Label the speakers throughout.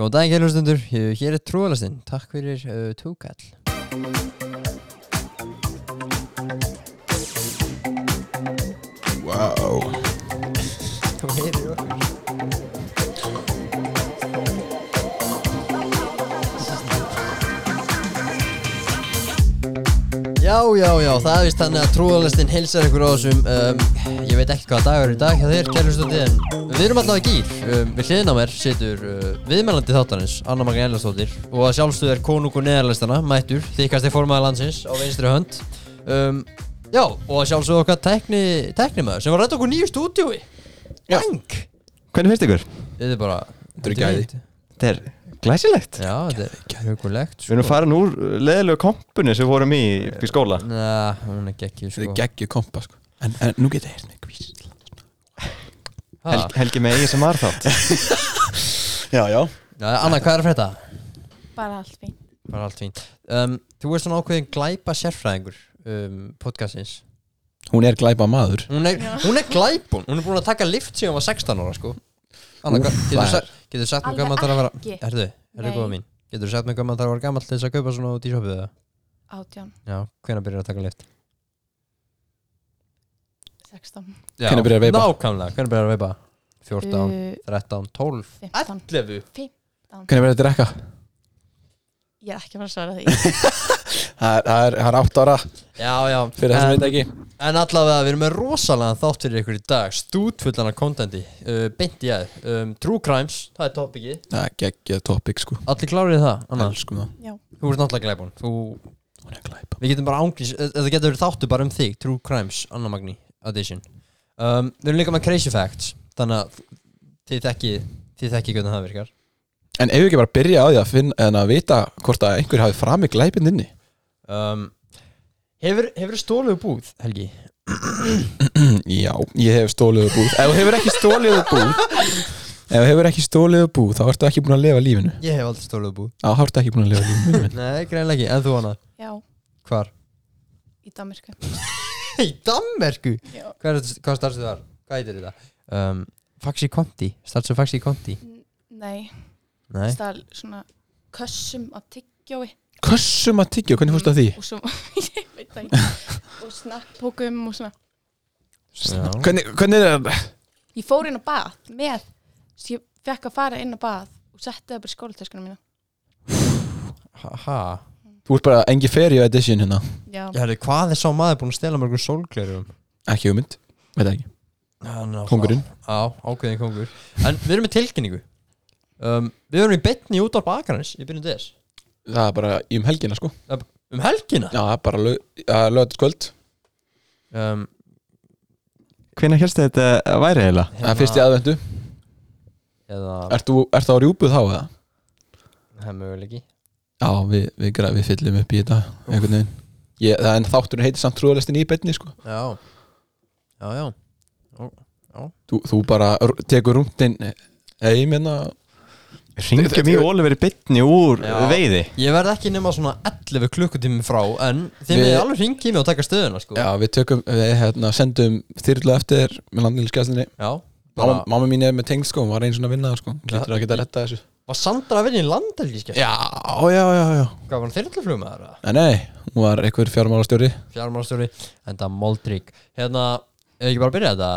Speaker 1: Góðan daginn, kærlustundur. Hér er trúalastinn. Takk fyrir uh, tókall.
Speaker 2: Wow.
Speaker 1: Þú heyrir okkur. Já, já, já, það er vist þannig að trúalastinn hilsar ykkur á þessum, um, ég veit ekki hvað dagur er í dag hjá þér, kærlustundi, en við erum allavega í gýr. Um, við hliðin á mér situr uh, viðmælandi þáttarins, Anna Magna Ellastóttir, og að sjálfstöð er konungur neðarlistana, mættur, þykast þig formaði landsins á vinstri hönd. Um, já, og að sjálfstöð okkar tekni, teknimaður sem var rétt okkur nýju stúdíói.
Speaker 2: Já.
Speaker 1: Bang!
Speaker 3: Hvernig finnst ykkur?
Speaker 1: Þetta er bara
Speaker 2: Þetta eru gæði.
Speaker 1: fínt.
Speaker 3: Þetta er glæsilegt
Speaker 1: Já, þetta er hugulegt sko.
Speaker 3: Við erum farin úr leðilegu kompunni sem við vorum í upp í skóla
Speaker 1: Næ, hún er gekkið
Speaker 2: Þetta er
Speaker 1: sko
Speaker 2: geggju kompa sko En, en nú geta ég hérna kvísl
Speaker 1: Ha.
Speaker 3: Helgi, Helgi með eigin sem var þátt
Speaker 2: Já, já
Speaker 1: Já, Anna, hvað er að frétta?
Speaker 4: Bara allt fín.
Speaker 1: Bara allt fínt um, Þú ert svona ákveðin glæpa sérfræðingur um, podcastins
Speaker 2: Hún er glæpa maður
Speaker 1: hún er, hún er glæpun, hún er búin að taka lift síðan hún var 16 ára sko Anna,
Speaker 2: Úff,
Speaker 1: hva, getur,
Speaker 2: maður.
Speaker 1: sa getur sagt mér
Speaker 4: Alveg
Speaker 1: hvað maður þarf að
Speaker 4: ekki.
Speaker 1: vera Erðu, erðu
Speaker 4: Nei.
Speaker 1: góða mín Getur sagt mér hvað maður þarf að vera gamall til þess að kaupa svona út í sjófið það?
Speaker 4: Átján,
Speaker 1: Já, hvenær byrjar að taka lift?
Speaker 4: 16,
Speaker 1: Já,
Speaker 2: Hvenær byrjar að veipa?
Speaker 1: Nákvæmlega, hvernig byrjar að veipa? 14,
Speaker 4: uh,
Speaker 1: 13, 12
Speaker 4: 15.
Speaker 1: 11
Speaker 2: Hvernig verður þetta rekka?
Speaker 4: Ég er ekki að fara að svara því.
Speaker 2: Það er- það er, það er átt ára
Speaker 1: Já, já
Speaker 2: fyrir það
Speaker 1: en-
Speaker 2: sem veit ekki
Speaker 1: En allavega, við erum með rosalega þátt fyrir ykkur í dag Stútfullana kontenti uh, Beint í aðeins um, True Crimes, það er topikið
Speaker 2: Það er geggja topic sko
Speaker 1: Allir klárið það, Anna?
Speaker 2: Elskum það
Speaker 4: Já,
Speaker 1: Þú ert náttúrulega glæbun Þú...
Speaker 2: Hún er glæpa
Speaker 1: Við getum bara ánglis Þetta getur verið þáttu bara um þig True Crimes, Anna Magni Edition um, Við erum líka með Crazy Facts Þannig að þið þekki Þið þekki hvernig það virkar
Speaker 2: En ef við ekki bara byrja á því að finna En að vita hvort að einhver hafi framið glæpin inni
Speaker 1: um, Hefur, hefur stóluðu búð, Helgi?
Speaker 2: Mm, Já, ég hef stólið og búð Ef þú hefur ekki stólið og búð Ef þú hefur ekki stólið og búð Þá ertu ekki búin að lifa lífinu
Speaker 1: Ég hef aldrei stóluðu búð
Speaker 2: Þá ertu ekki búin að lifa lífinu
Speaker 1: Nei, greinlega ekki, en þú Anna?
Speaker 4: já,
Speaker 1: Hvar?
Speaker 4: í Danmarku.
Speaker 1: Í Danmerku?
Speaker 4: Já.
Speaker 1: Hvað, er- hvað starfstu þar? Hvað heitir þetta? Um, Faxi Conti, starfstu Faxi Conti
Speaker 4: Nei,
Speaker 1: Nei,
Speaker 4: stæl svona kössum af tyggjói
Speaker 2: Kössum að tyggja, hvernig fórstu að því?
Speaker 4: og svo, ég veit það ekki, og snakkpókum og svona.
Speaker 1: Já.
Speaker 2: Hvernig, hvernig er það?
Speaker 4: Ég fór inn á bað með, svo ég fekk að fara inn á bað og setti það bara í skólatöskuna mína.
Speaker 1: ha, ha.
Speaker 2: Þú ert bara engi ferju edition hérna
Speaker 4: Já,
Speaker 1: Já, heyrðu, Hvað er sá maður búin að stela mörgum sólglerum?
Speaker 2: Ekki hugmynd, veit það ekki
Speaker 1: Kongurinn
Speaker 2: Kóngurinn.
Speaker 1: Já, ákveðin kongur En við erum með tilkynningu um, Við erum í betni út á bakarins í byrjun DS
Speaker 2: Það er bara í um helgina sko
Speaker 1: Um helgina
Speaker 2: Já, það er bara lögat kvöld
Speaker 1: um,
Speaker 3: Hvenær helst þetta væri eiginlega?
Speaker 2: Það er fyrst í aðvendu
Speaker 1: hérna- Eða
Speaker 2: Ert þú ert á rjúpuð þá eða?
Speaker 1: Það er möguleiki
Speaker 2: Já, við, við, gra- við fyllum upp í þetta einhvern veginn Ég, það en þátturinn heitir samt trúðalestin í beinni sko
Speaker 1: Já Já, já
Speaker 2: Þú, þú bara r- tekur hérna. rúndin Eða ég meina
Speaker 3: Ringjum í Oliver í bytni úr
Speaker 1: Já.
Speaker 3: veiði
Speaker 1: Ég verð ekki nema svona 11 klukkutími frá En þið
Speaker 2: Við-
Speaker 1: með alveg ringi mig og taka stöðuna sko
Speaker 2: Já, við tökum, við hérna, sendum þyrlu eftir með landinlískjæstinni
Speaker 1: Já, bara,
Speaker 2: Mamma, mamma mín er með tengd sko, hún var eins og að vinna það sko Hún Lítur að geta að retta þessu
Speaker 1: var Sandra að vinna í landelgiskja?
Speaker 2: Já, já, já, já
Speaker 1: Hvað var hann þyrluflug með það?
Speaker 2: Nei, nei, hún var einhver fjármálastjóri
Speaker 1: Fjármálstjóri, en það moldrík Hérna, ef ekki bara að byrja þetta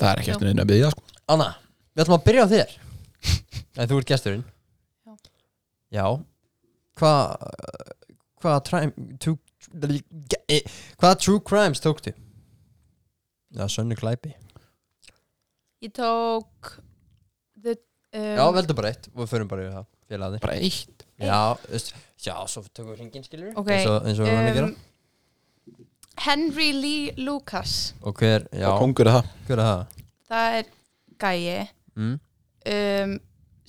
Speaker 2: Það er ekki eftir neina að byggja sko.
Speaker 1: Anna, við ætlum að byrja á þér En þú ert gesturinn
Speaker 4: Já.
Speaker 1: Já Hvað Hvaða crime tú, Hvaða true crimes tóktu? Já, sönnu glæpi
Speaker 4: ég tók the, um,
Speaker 1: Já, veldu bara eitt og við förum bara yfir það Félagi
Speaker 2: Bara eitt
Speaker 1: Já, veist, já, svo tökum við hringin skilur
Speaker 4: Ok,
Speaker 1: eins, og, eins og við hann að gera
Speaker 4: um, Henry Lee Lucas
Speaker 1: Og hver, já,
Speaker 2: Og kongur er það
Speaker 1: hver er það?
Speaker 4: það er gæi
Speaker 1: Mm?
Speaker 4: um,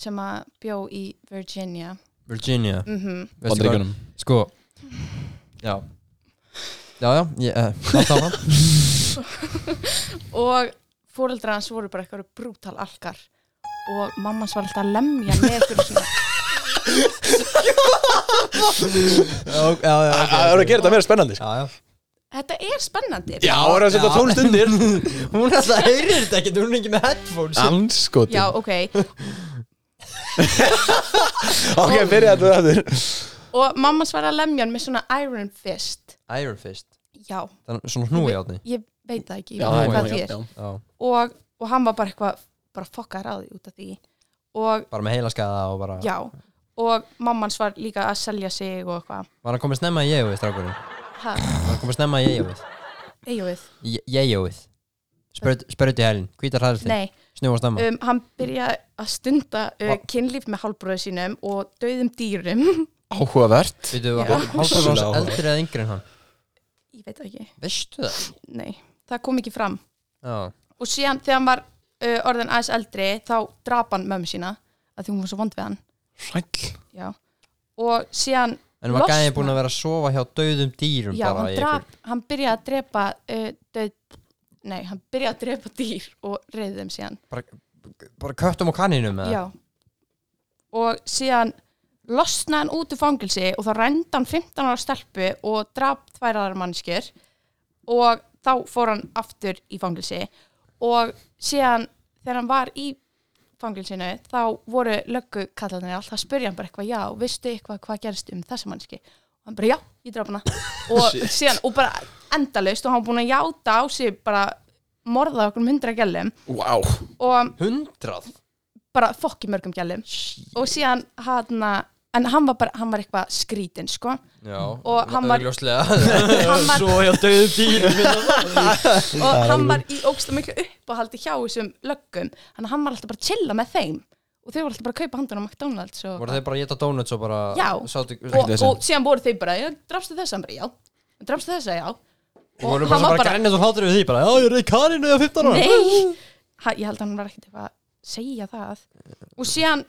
Speaker 4: sem að bjó í Virginia
Speaker 1: Virginia
Speaker 4: mm
Speaker 1: Veistu hvað-
Speaker 2: Bandaríkjunum.
Speaker 1: Sko Já Já, já, ég, uh, það var hann
Speaker 4: og fóreldra hans voru bara eitthvað brútal alkar og mamma hans var alltaf að lemja með eitthvað svona
Speaker 1: Já, já, já, ok,
Speaker 2: Það eru að gera þetta meira spennandi sko.
Speaker 1: já, já.
Speaker 4: þetta er spennandi
Speaker 2: Já, það eru að setja
Speaker 1: Já.
Speaker 2: tónlist undir
Speaker 1: Hún alltaf heyrir þetta ekki, hún er ekki með headphones
Speaker 2: Anskoti
Speaker 4: Já, ok
Speaker 2: Ok, byrja þetta aftur
Speaker 4: og mamma svara lemjan með svona iron fist
Speaker 1: Iron Fist
Speaker 4: já,
Speaker 1: Þannig svona hnúi átni
Speaker 4: ég veit það ekki
Speaker 2: Já,
Speaker 4: já, hvað
Speaker 2: já,
Speaker 4: það
Speaker 2: já,
Speaker 4: þýr
Speaker 2: já.
Speaker 1: Já,
Speaker 4: og, og hann var bara eitthvað bara fokkaður á því út af því og
Speaker 1: bara með heilaskaða og bara
Speaker 4: já, og mamman svar líka að selja sig og eitthvað
Speaker 1: Var hann komið snemma í ég-jóið, strákurinn?
Speaker 4: Ha,
Speaker 1: Var hann komið snemma í ég-jóið?
Speaker 4: Eyjólfið,
Speaker 1: Ég-jóið Spörut í hælinn, hvítar hælinn
Speaker 4: nei
Speaker 1: Snjó og snemma
Speaker 4: um, hann byrjaði að stunda uh, kynlíf með hálfbróðu sínum og döðum dýrum
Speaker 2: Áhugavert
Speaker 1: Veitu,
Speaker 4: Já.
Speaker 1: var hálfur ás
Speaker 2: Vissulega.
Speaker 1: eldri eða yngri en hann?
Speaker 4: ég veit það ekki,
Speaker 1: Veistu það?
Speaker 4: nei, það kom ekki fram
Speaker 1: Já
Speaker 4: og síðan þegar hann var uh, orðin aðeins eldri þá drap hann mömmu sína að því hún var svo vond við hann
Speaker 2: Sæll
Speaker 4: já. og síðan
Speaker 1: En var
Speaker 4: Losna.
Speaker 1: gæðin búin að vera að sofa hjá dauðum dýrum
Speaker 4: já,
Speaker 1: bara
Speaker 4: hann,
Speaker 1: í
Speaker 4: drap, hann byrjaði að drepa uh, döð, nei, hann byrjaði að drepa dýr og reyði þeim síðan
Speaker 1: einhver- Bara köttum og kaninum eða?
Speaker 4: já. og síðan losnaði hann út úr fangilsi og þá rændi hann 15 ára stelpu og drap þværaðar mannskir og þá fór hann aftur í fangilsi og síðan þegar hann var í fangilsinu þá voru löggu kallarnir alltaf að spyrja hann bara eitthvað já, veistu eitthvað hvað gerst um þessa mannski og hann bara já, ég draf hana og síðan, og bara endalaust og hann var búin að játa á sig bara morða okkur hundra gælum
Speaker 2: Vá wow.
Speaker 4: og
Speaker 1: Hundrað?
Speaker 4: bara fokki mörgum gælum og síðan hann en hann var bara, hann var eitthvað skrítin sko
Speaker 1: Já
Speaker 4: Og hann var-
Speaker 1: Ljóslega
Speaker 4: hann var,
Speaker 1: hjá dauðum dýrum
Speaker 4: og hann var í ógsta miklu uppáhaldi hjá þessum löggum þannig að hann var alltaf bara að chilla með þeim og þau var alltaf bara að kaupa handun á McDonalds og,
Speaker 1: Voru þeir bara að geta donuts og bara
Speaker 4: Já.
Speaker 1: sátu,
Speaker 4: og,
Speaker 2: vesen.
Speaker 4: og síðan voru þau bara, já, drafstu þessa hann bara, já, drafstu þessa, já
Speaker 1: Og voru bara, bara, bara grænið og hlátur við því bara, já, ég reyði kaninu eða 15 ára
Speaker 4: Nei, ha, ég held að hann var ekkert eitthvað að segja það og síðan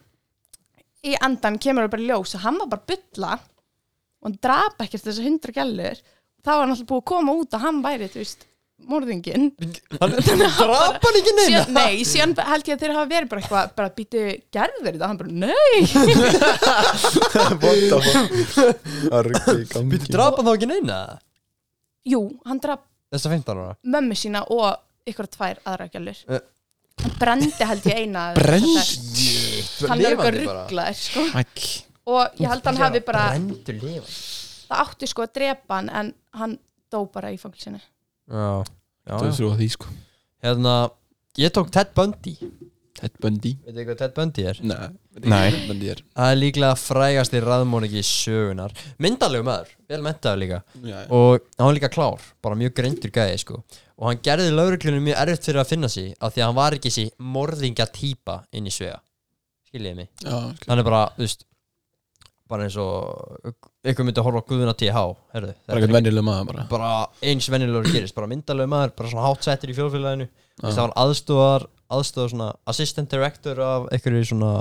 Speaker 4: í endan kemur það bara í ljós og hann var bara að bylla og hann drapa ekkert þessar hundra gælur þá var hann alltaf búið að koma út að hann væri, þú veist, morðingin
Speaker 1: Hann drapa hann ekki neina
Speaker 4: síðan, Nei, síðan held ég að þeir hafa verið bara eitthvað bara býtu gerðir þetta, hann bara, nei
Speaker 2: What the fuck Argi, gangi
Speaker 1: Býttu drapa þá ekki neina
Speaker 4: Jú, hann drap
Speaker 1: Þessa 15 ára
Speaker 4: mömmu sína og ykkur tvær aðra gælur
Speaker 1: Eh.
Speaker 4: hann brendi held ég eina
Speaker 2: Brenn
Speaker 4: hann er eitthvað
Speaker 1: Lifandi bara.
Speaker 4: rugglaður sko.
Speaker 2: Sæll
Speaker 4: og ég held að hann hafi bara
Speaker 1: Brendur lifa
Speaker 4: það átti sko að drepa hann en hann dó bara í fangilsinu
Speaker 1: Já,
Speaker 2: Það er
Speaker 1: já
Speaker 2: svo að því sko
Speaker 1: Hérna, ég tók Ted Bundy
Speaker 2: Ted Bundy
Speaker 1: Veitu þið hvað Ted Bundy er?
Speaker 2: Nei
Speaker 3: Nei.
Speaker 2: Ted Bundy er
Speaker 1: Það er líklega frægasti raðmóningi sögunar Myndalegu maður, vel mentaður líka
Speaker 2: Já, já.
Speaker 1: og hann var líka klár, bara mjög greindur gæði sko. og hann gerði lauruglunum mjög erfitt fyrir að finna sig af því að hann var ekki þessi morðinga típa inn í svega skiljiði mig,
Speaker 2: Já, skil.
Speaker 1: hann er bara þú veist, bara eins og ykkur myndi að horfa á guðuna TH herðu,
Speaker 2: Bara
Speaker 1: þetta
Speaker 2: eitthvað
Speaker 1: er
Speaker 2: venjulega maður bara
Speaker 1: bara eins venjulegur gerist bara myndalegu maður, bara svona hátsettir í fjólfélaginu
Speaker 2: Já.
Speaker 1: það var aðstofar, aðstofar svona assistant director af einhverju svona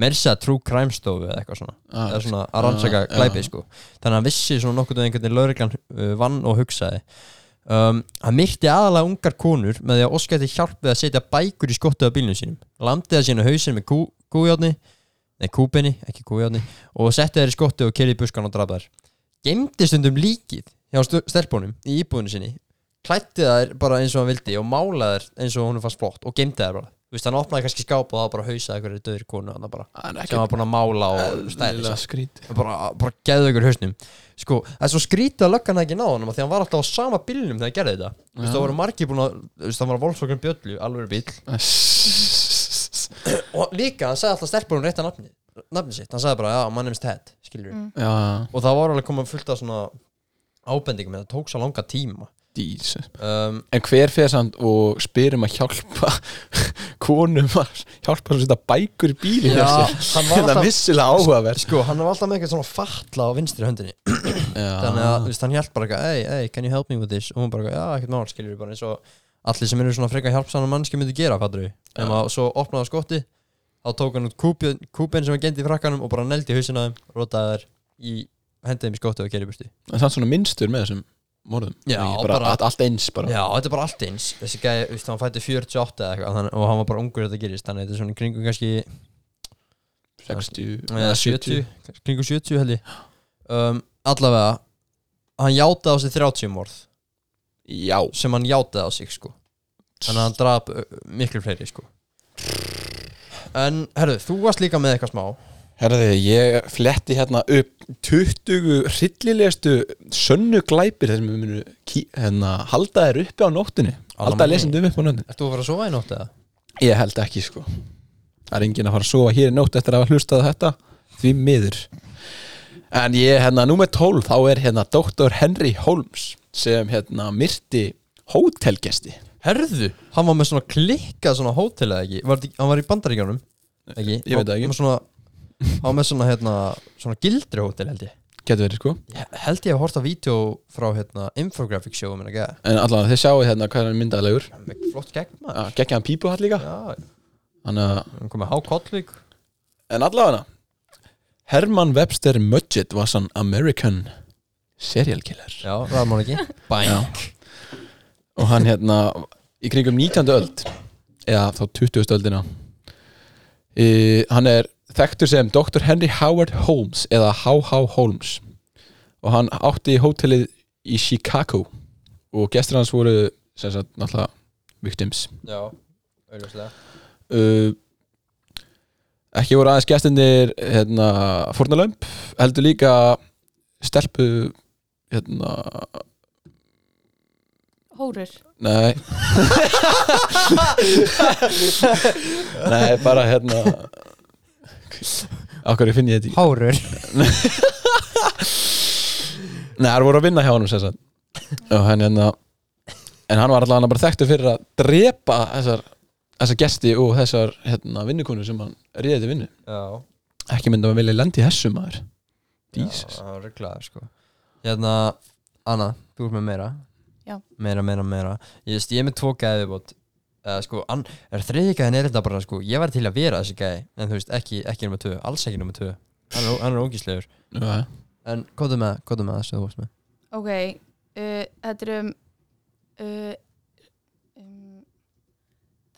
Speaker 1: Mersa True Crime Stofu eða eitthvað svona
Speaker 2: Ah,
Speaker 1: eða svona að rannsaka
Speaker 2: Já, já.
Speaker 1: glæpi sko. þannig að hann vissi svona nokkuð um einhvern veginn lauruglan uh, vann og hugsaði um, hann myrti aðalega ungar konur með því að óska til hjálp við að setja bækur í skottuða bílnum sínum lamdi það sína hausin með kú, kújárni nei kúbinni, ekki kújárni og setti þær í skottu og kerði í buskan og drapa þær gemdi stundum líkið hjá stu- stelpunum í íbúðinu sinni klætti þær bara eins og hann vildi og málaði þær eins og hún fannst flott og gemdi þær bara Þú veist, hann opnaði kannski skáp og það var bara hausaði hverju döður konu hann bara
Speaker 2: Það ah, er Ah,
Speaker 1: sem var búin að mála og stæla
Speaker 2: Eðlilega skrít
Speaker 1: bara, bara geðu ykkur hausnum sko, það er svo skrítið að löggan það ekki náðan því að hann var alltaf á sama bílnum þegar hann gerði þetta þú veist,
Speaker 2: Já.
Speaker 1: það voru margir búin að, þú veist, það var volsvokkur bjöllu, alveg bíl og líka, hann sagði alltaf stelpunum rétt að nafni nafni sitt, hann sagði bara, já, mann er mist head skilur
Speaker 4: Mm.
Speaker 2: Já,
Speaker 1: og það var alveg komað fullt af svona ábendingum, en það tók svo langa tíma
Speaker 2: dís
Speaker 1: um,
Speaker 2: En hver fer samt og spyr um að hjálpa konum að hjálpa að setja bækur í bíli
Speaker 1: já,
Speaker 2: hjá sér?
Speaker 1: hann var
Speaker 2: Það er
Speaker 1: alltaf
Speaker 2: vissilega áhugaverð
Speaker 1: sko, hann var alltaf með eitthvað svona fatla á vinstri höndinni þannig
Speaker 2: Ah.
Speaker 1: að þú veist, hann hjælt bara eitthvað hey, hey, can you help me with this og hún bara, eitthvað, já, ekkert mál, skilur bara eins og allir sem eru svona freka hjálpsanar mannski myndi gera, fattur við en svo opnaði skotti þá tók hann út kúpin, kúpin sem hann gendi í frakkanum og bara neldi í hausina á þeim, rotaði þær í hendið þeim í skotti og kerið burti
Speaker 2: En samt svona minnstur með þessum morðum
Speaker 1: Já,
Speaker 2: Ekki bara,
Speaker 1: bara-
Speaker 2: allt- Allt eins bara
Speaker 1: já, þetta er bara allt eins þessi gæði, þú veist, hann fætti 48 eða eitthvað þannig- og hann var bara ungur þegar þetta gerist þannig að þetta er svona í kringum kannski
Speaker 2: 60
Speaker 1: eða 70, kringum 70 held ég um, allavega hann játaði á sig 30 morð
Speaker 2: Já
Speaker 1: sem hann játaði á sig sko þannig að hann draf miklu fleiri sko En, herðu, þú varst líka með eitthvað smá
Speaker 2: Herði, ég fletti hérna upp 20 hryllilegustu sönnu glæpir þessum við munum ký- hérna, halda þér uppi á nóttinu halda
Speaker 1: Almanni.
Speaker 2: lesendum upp á nóttinu
Speaker 1: Ert þú að fara að sofa í nótt eða?
Speaker 2: Ég held ekki sko Það er enginn að fara að sofa hér í nótt eftir að hafa hlustað á þetta Því miður En ég, hérna, númer 12 Þá er hérna Dr. Henry Holmes Sem hérna myrti hótelgesti
Speaker 1: Herðu? Hann var með svona klikkað svona hótel eða ekki var, þetta- Hann var í bandaríkjánum Ekki?
Speaker 2: Ég veit það ekki.
Speaker 1: Hann var með svona, hann var með svona, hérna, svona gildri hótel held ég
Speaker 2: Getur verið sko
Speaker 1: Ég Held ég að horta vídeo frá, hérna, infographic show minna gæða
Speaker 2: En allavega þið sjáu hérna hvað hann er myndaðlegur
Speaker 1: Með flott gegn maður
Speaker 2: Gekkja hann pípu líka
Speaker 1: Já,
Speaker 2: Þannig að
Speaker 1: hann kom með hákollík
Speaker 2: En allavega Herman Webster Mudgett was an American serial killer
Speaker 1: Já, ræðum hann ekki Bæn
Speaker 2: og hann hérna í kringum 19. öld eða þá 20. öldina e, hann er þekktur sem Dr. Henry Howard Holmes eða H.H. Holmes og hann átti í hótelið í Chicago og gestur hans voru sem sagt náttúrulega victims
Speaker 1: Já, auðvitað
Speaker 2: uh, ekki voru aðeins gestinir hérna, fornalömp heldur líka stelpu hérna,
Speaker 4: Hórur
Speaker 2: nei nei, bara hérna okkur finn ég þetta ekki
Speaker 1: Hárur
Speaker 2: nei, það voru að vinna hjá honum sem sagt og hann hérna en hann var allavega bara þekktur fyrir að drepa þessar, þessar gesti og þessar hérna, vinnukonu sem hann réði til vinnu
Speaker 1: Já
Speaker 2: ekki myndi að vilja lendi þessu maður Jesus.
Speaker 1: Já, það var rugglaður sko Hérna, Anna, þú ert með meira
Speaker 4: Já.
Speaker 1: Meira, meira, meira Ég veist, ég er með tvo gæði viðbót uh, sko, an, er Þriði gæðin er þetta bara sko Ég var til að vera þessi gæði En þú veist, ekki, ekki nummer 2 Alls ekki nummer 2 Hann er, hann er ógíslegur
Speaker 2: Já,
Speaker 1: En komdu með, komdu með þessu þú varst með
Speaker 4: Ok, uh, þetta er um, uh, um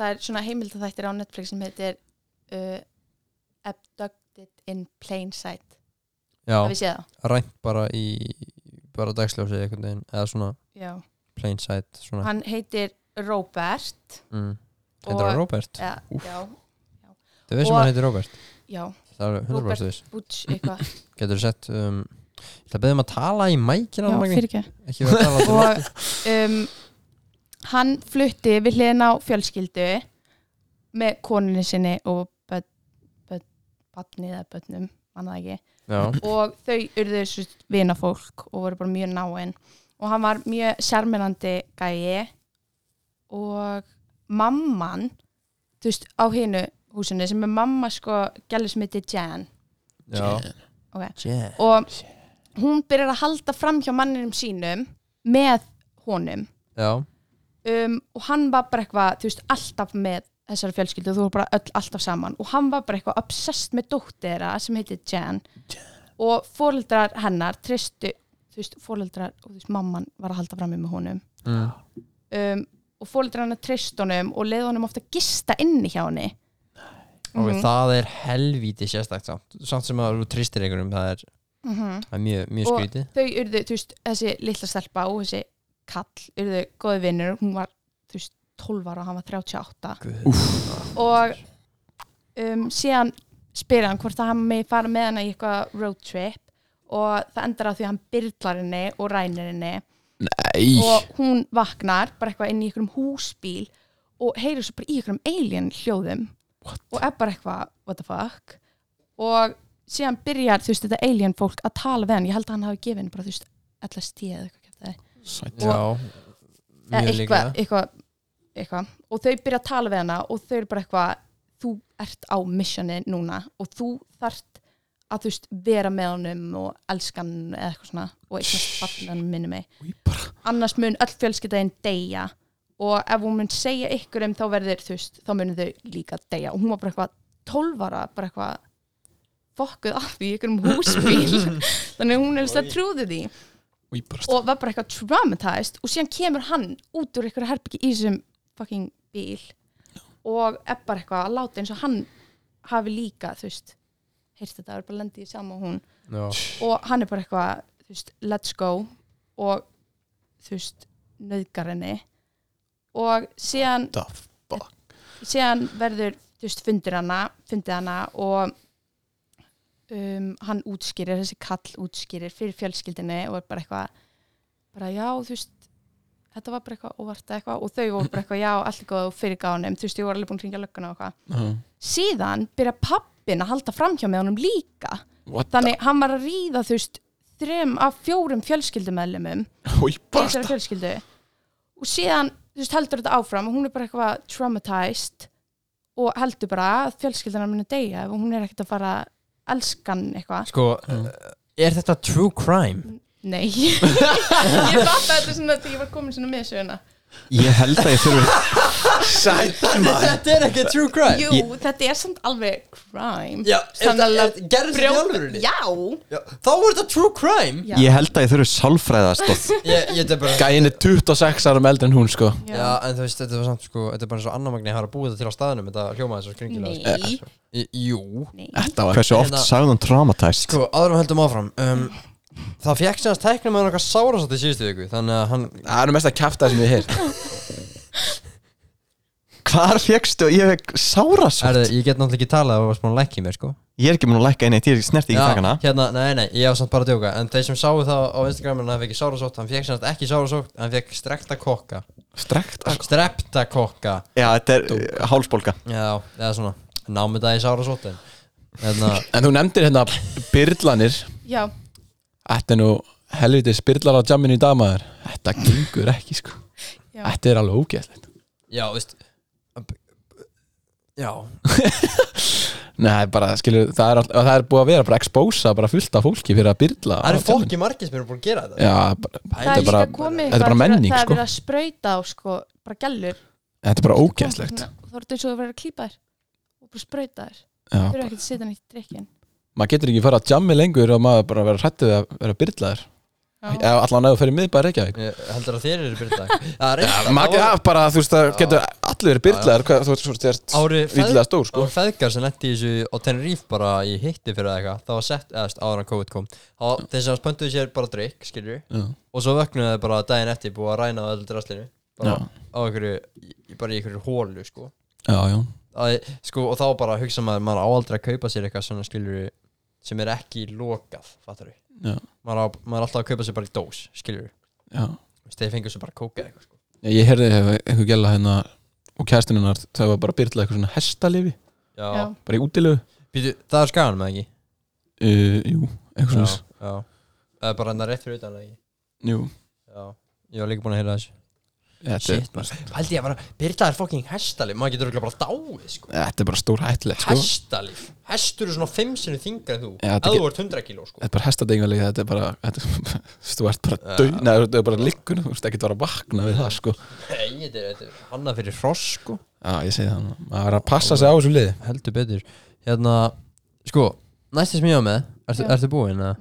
Speaker 4: Það er svona heimildathættir á Netflix sem heitir uh, Abducted in Plain Sight Það
Speaker 1: Já,
Speaker 4: við séð það
Speaker 1: rænt bara í Bara dagsljósið einhvern veginn Eða svona
Speaker 4: Já.
Speaker 1: plain sight Svona
Speaker 4: Hann heitir Robert
Speaker 1: mm. Heitir hann
Speaker 4: Og-
Speaker 1: Robert?
Speaker 4: Já, já,
Speaker 1: Þau veist sem
Speaker 4: og-
Speaker 1: hann heitir Robert
Speaker 4: já,
Speaker 1: Það er 100% viss
Speaker 4: Butch eitthvað
Speaker 1: Getur sett um, Ég ætla að beða um að tala í mækina
Speaker 4: Já,
Speaker 1: Magni.
Speaker 4: fyrir ekki
Speaker 1: ekki verið að tala
Speaker 4: og um, hann flutti við hliðin á fjölskyldu með konunni sinni og börn, börn, barni eða börnum, annað ekki
Speaker 1: Já,
Speaker 4: og þau urðu þessu vinafólk og voru bara mjög náinn og hann var mjög sjarmirandi gæi og mamman þú veist, á hinu húsinu sem er mamma sko gæli sem heitir Jan
Speaker 1: já
Speaker 4: Ok.
Speaker 1: yeah.
Speaker 4: og hún byrjar að halda fram hjá manninum sínum með honum
Speaker 1: Já,
Speaker 4: um, og hann var bara eitthvað, þú veist, alltaf með þessari fjölskyldu, þú voru bara öll alltaf saman og hann var bara eitthvað obsessed með dóttera sem heitir Jan og fóreldrar hennar tristu, þú veist, fóreldrar og þú veist, mamman var að halda fram með honum
Speaker 1: mm.
Speaker 4: um, og fóreldrar hennar trist honum og leiði honum ofta gista inni hjá henni
Speaker 1: ok, það er helvíti sérstakt samt Samt sem að þú tristir einhverjum, það er,
Speaker 4: mm -hmm.
Speaker 1: það er mjög, mjög
Speaker 4: Og-
Speaker 1: skrítið
Speaker 4: þau urðu, þú veist, þessi litla stelpa og þessi kall urðu góði vinnur hún var, þú veist, 12 ára og hann var 38
Speaker 1: Guð.
Speaker 4: og um, síðan spyrir hann hvort að hann megi fara með hana í eitthvað road trip og það endar á því að hann byrlar henni og rænir henni
Speaker 2: Æ,
Speaker 4: og hún vaknar bara eitthvað inn í einhverjum húsbíl og heyrir svo bara í einhverjum alien hljóðum
Speaker 2: What?
Speaker 4: og er bara eitthvað what the fuck og síðan byrjar þú veist þetta alien fólk að tala við hann, ég held að hann hafi gefið henni bara þú veist allast stíð eða eitthvað kjaftaði.
Speaker 2: sæt.
Speaker 1: Já,
Speaker 4: Eða
Speaker 1: mjög líka
Speaker 4: Eh, eitthvað, eitthvað, eitthvað og þau byrja að tala við hana og þau eru bara eitthvað þú ert á missioni núna og þú þart að þú veist vera með honum og elskan eða eitthvað svona og eignast fallan minni mig
Speaker 2: Í bara-
Speaker 4: annars mun öll fjölskyldaðin deyja og ef hún mun segja ykkur um þá verður þú veist, þá munir þau líka deyja og hún var bara eitthvað 12 ára bara eitthvað fokkuð af í ykkur um húsbíl þannig að hún er að trúði því
Speaker 2: í bara
Speaker 4: og var bara eitthvað traumatized og síðan kemur hann út úr eitthvað herbyggi í þessum fucking bíl og er bara eitthvað að láta eins og hann hafi líka, þú veist heyrst þetta, er bara lendið saman og hún
Speaker 1: Já,
Speaker 4: og hann er bara eitthvað, þú veist, let's go og þú veist, nöðgar henni og síðan
Speaker 2: stuff
Speaker 4: síðan verður þú veist, fundir hana, fundið hana og um, hann útskýrir, þessi kall útskýrir fyrir fjölskyldinni og er bara eitthvað bara já, þú veist þetta var bara eitthvað óvart eða eitthvað og þau voru bara eitthvað já, allt er góð og fyrir gánum, þú veist, ég voru alveg búin að ringja lögguna og eitthvað.
Speaker 2: uh,
Speaker 4: Síðan byrja pappin að halda framhjá með honum líka
Speaker 2: What the
Speaker 4: þannig hann var að ríða þú veist þrem af fjórum fjölskyldumæðlumum
Speaker 2: Hoi, basta
Speaker 4: þessari fjölskyldu og síðan þú veist, heldur þetta áfram og hún er bara eitthvað traumatized og heldur bara að fjölskyldunar muni deyja ef hún er ekkert að fara að elska hann eitthvað
Speaker 1: Sko, er þetta true crime?
Speaker 4: Nei Ég fatt að þetta svona þegar ég var komin svona með söguna
Speaker 3: Ég held að ég þurfi
Speaker 2: Sæt
Speaker 1: Þetta er ekki true crime
Speaker 4: Jú, þetta er samt alveg crime
Speaker 1: Já, er
Speaker 4: Samt
Speaker 1: þetta- er-
Speaker 4: alveg
Speaker 1: gerðist þetta í
Speaker 4: brjó-
Speaker 1: alvörunni?
Speaker 4: Já,
Speaker 1: Já, Þá er þetta true crime
Speaker 4: já.
Speaker 3: Ég held að ég þurfi sálfræðastóð
Speaker 1: Ég, ég þetta er bara
Speaker 2: Gæin er 26 árum eldri en hún sko
Speaker 1: Já, en þú veist, þetta var samt sko Þetta er bara eins og annar magni hafa búið þetta til á staðnum Þetta hljómaði svo skringilega sko.
Speaker 4: Nei,
Speaker 1: Í- Jú
Speaker 4: nei
Speaker 2: Þetta var
Speaker 3: Hversu oft
Speaker 1: Hérna-
Speaker 3: sagði hann traumatæst
Speaker 1: Sko, áðurum höldum áfram um, Það fekk sem hans tæknum með nokkað sárasátt í síðustu viku Þannig að hann
Speaker 2: Það er nú mest að kæfta sem ég heyr
Speaker 3: Hvar fegstu? Ég fekk sárasátt
Speaker 1: Erðu, ég get náttúrulega ekki talað Það var smá læk í mér, sko
Speaker 3: Ég er ekki mun að lækka inn eitt, ég er snerti ekki takana
Speaker 1: hérna, nei, nei, ég var samt bara að djóka En þeir sem sáu það á Instagraminu Hann fekk ekki sárasátt, hann fekk sem hans ekki sárasátt Hann fekk strekta kokka
Speaker 2: Strekt sko.
Speaker 1: Strepta kokka
Speaker 3: Já, þetta er uh, hálsbólga
Speaker 1: Já, eða svona Námið það í sárasátt En hérna,
Speaker 2: En þú nefndir hérna byrlanir
Speaker 4: Já,
Speaker 2: Þetta er nú helviti spyrlar á jamminu í dag maður Þetta gengur ekki sko
Speaker 4: Já.
Speaker 2: Þetta er alveg ógeðslegt
Speaker 1: já, veist Já,
Speaker 2: Nei, bara skilur, það er, all, það er búið að vera bara expósa bara fullt af fólki fyrir að byrla
Speaker 1: það
Speaker 2: á
Speaker 1: eru
Speaker 2: djamminu.
Speaker 1: fokki margir sem eru búin að gera þetta
Speaker 2: Já, bara,
Speaker 4: það
Speaker 2: þetta er
Speaker 4: er líka
Speaker 2: bara,
Speaker 4: komið
Speaker 2: þetta er bara
Speaker 4: eitthvað-
Speaker 2: menning
Speaker 4: Það er
Speaker 2: sko
Speaker 4: verið að sprauta á sko, bara gælur
Speaker 2: Þetta er bara ógeðslegt
Speaker 4: Kom, svona, þá er þetta eins og það verið að klípa þér og bara sprauta þér þau
Speaker 2: Já,
Speaker 4: eru ekkert að setja nýtt drikkin
Speaker 2: maður getur ekki að fara að jammi lengur og maður bara vera hrættið að vera byrlaður eða allan að þú fyrir miðbæri Reykjavík
Speaker 1: Ég heldur að þér eru byrjað dag Það er reynt, það
Speaker 2: maður
Speaker 1: var-
Speaker 2: getur bara, þú veist, það getur allir verið byrlaður hvað þú veist, þú veist, þér
Speaker 1: ári
Speaker 2: villilega stór, sko
Speaker 1: ári feðgar sem lendi í þessu á Tenerife bara í hitti fyrir eitthvað það var sett, eða þú veist, áður en COVID kom þá þeir sem spönduðu sér bara drikk, skilju
Speaker 2: Já.
Speaker 1: og svo vöknuðu þeir bara daginn eftir búið að ræna á öllu draslinu bara
Speaker 2: Já.
Speaker 1: á einhverju, í- bara í einhverju hólu, sko
Speaker 2: Já, já,
Speaker 1: að, sko, og þá bara hugsa maður maður á aldrei að kaupa sér eitthvað svona, skilju sem er ekki lokað, fattar við
Speaker 2: já,
Speaker 1: maður, á, maður er alltaf að kaupa sér bara í dós, skilju
Speaker 2: já.
Speaker 1: þeir fengur sér bara kóka eitthvað, sko
Speaker 2: Ég heyrði hef- einhver gæla hérna og kæstinunar, það var bara byrlað eitthvað svona hestalifi,
Speaker 1: já,
Speaker 4: Já.
Speaker 2: bara í útilegu
Speaker 1: Býtu, það er skagan með ekki
Speaker 2: uh, Jú, eitthvað
Speaker 1: já,
Speaker 2: svona
Speaker 1: já, það er bara enda rétt fyrir utan eða ekki
Speaker 2: Jú,
Speaker 1: Já, ég var líka búin að heyra þessu
Speaker 2: þetta er,
Speaker 1: Shit, maður Haldi ég að bara, Birta er fucking hestalif Maður getur örugglega bara dáið, sko
Speaker 2: þetta er bara stór hættilegt, sko
Speaker 1: Hestalif, hestur er svona fimm sinni þingar en þú Ef
Speaker 2: Já, þetta
Speaker 1: þú
Speaker 2: get-
Speaker 1: ert 100 kíló, sko
Speaker 2: Þetta er bara hestadingalegi, þetta er bara, þetta er bara, þú ert bara dau, neða, þú ert bara liggur, þú veist ekki að vera að vakna við það, sko.
Speaker 1: Nei, þetta er- þetta er annað fyrir hross, sko
Speaker 2: Já, ég segi það, maður er að passa sig á þessu liði.
Speaker 1: Heldur betur Hérna, sko, næsti sem ég var með Ertu,
Speaker 4: Já.
Speaker 1: ertu búin, eða?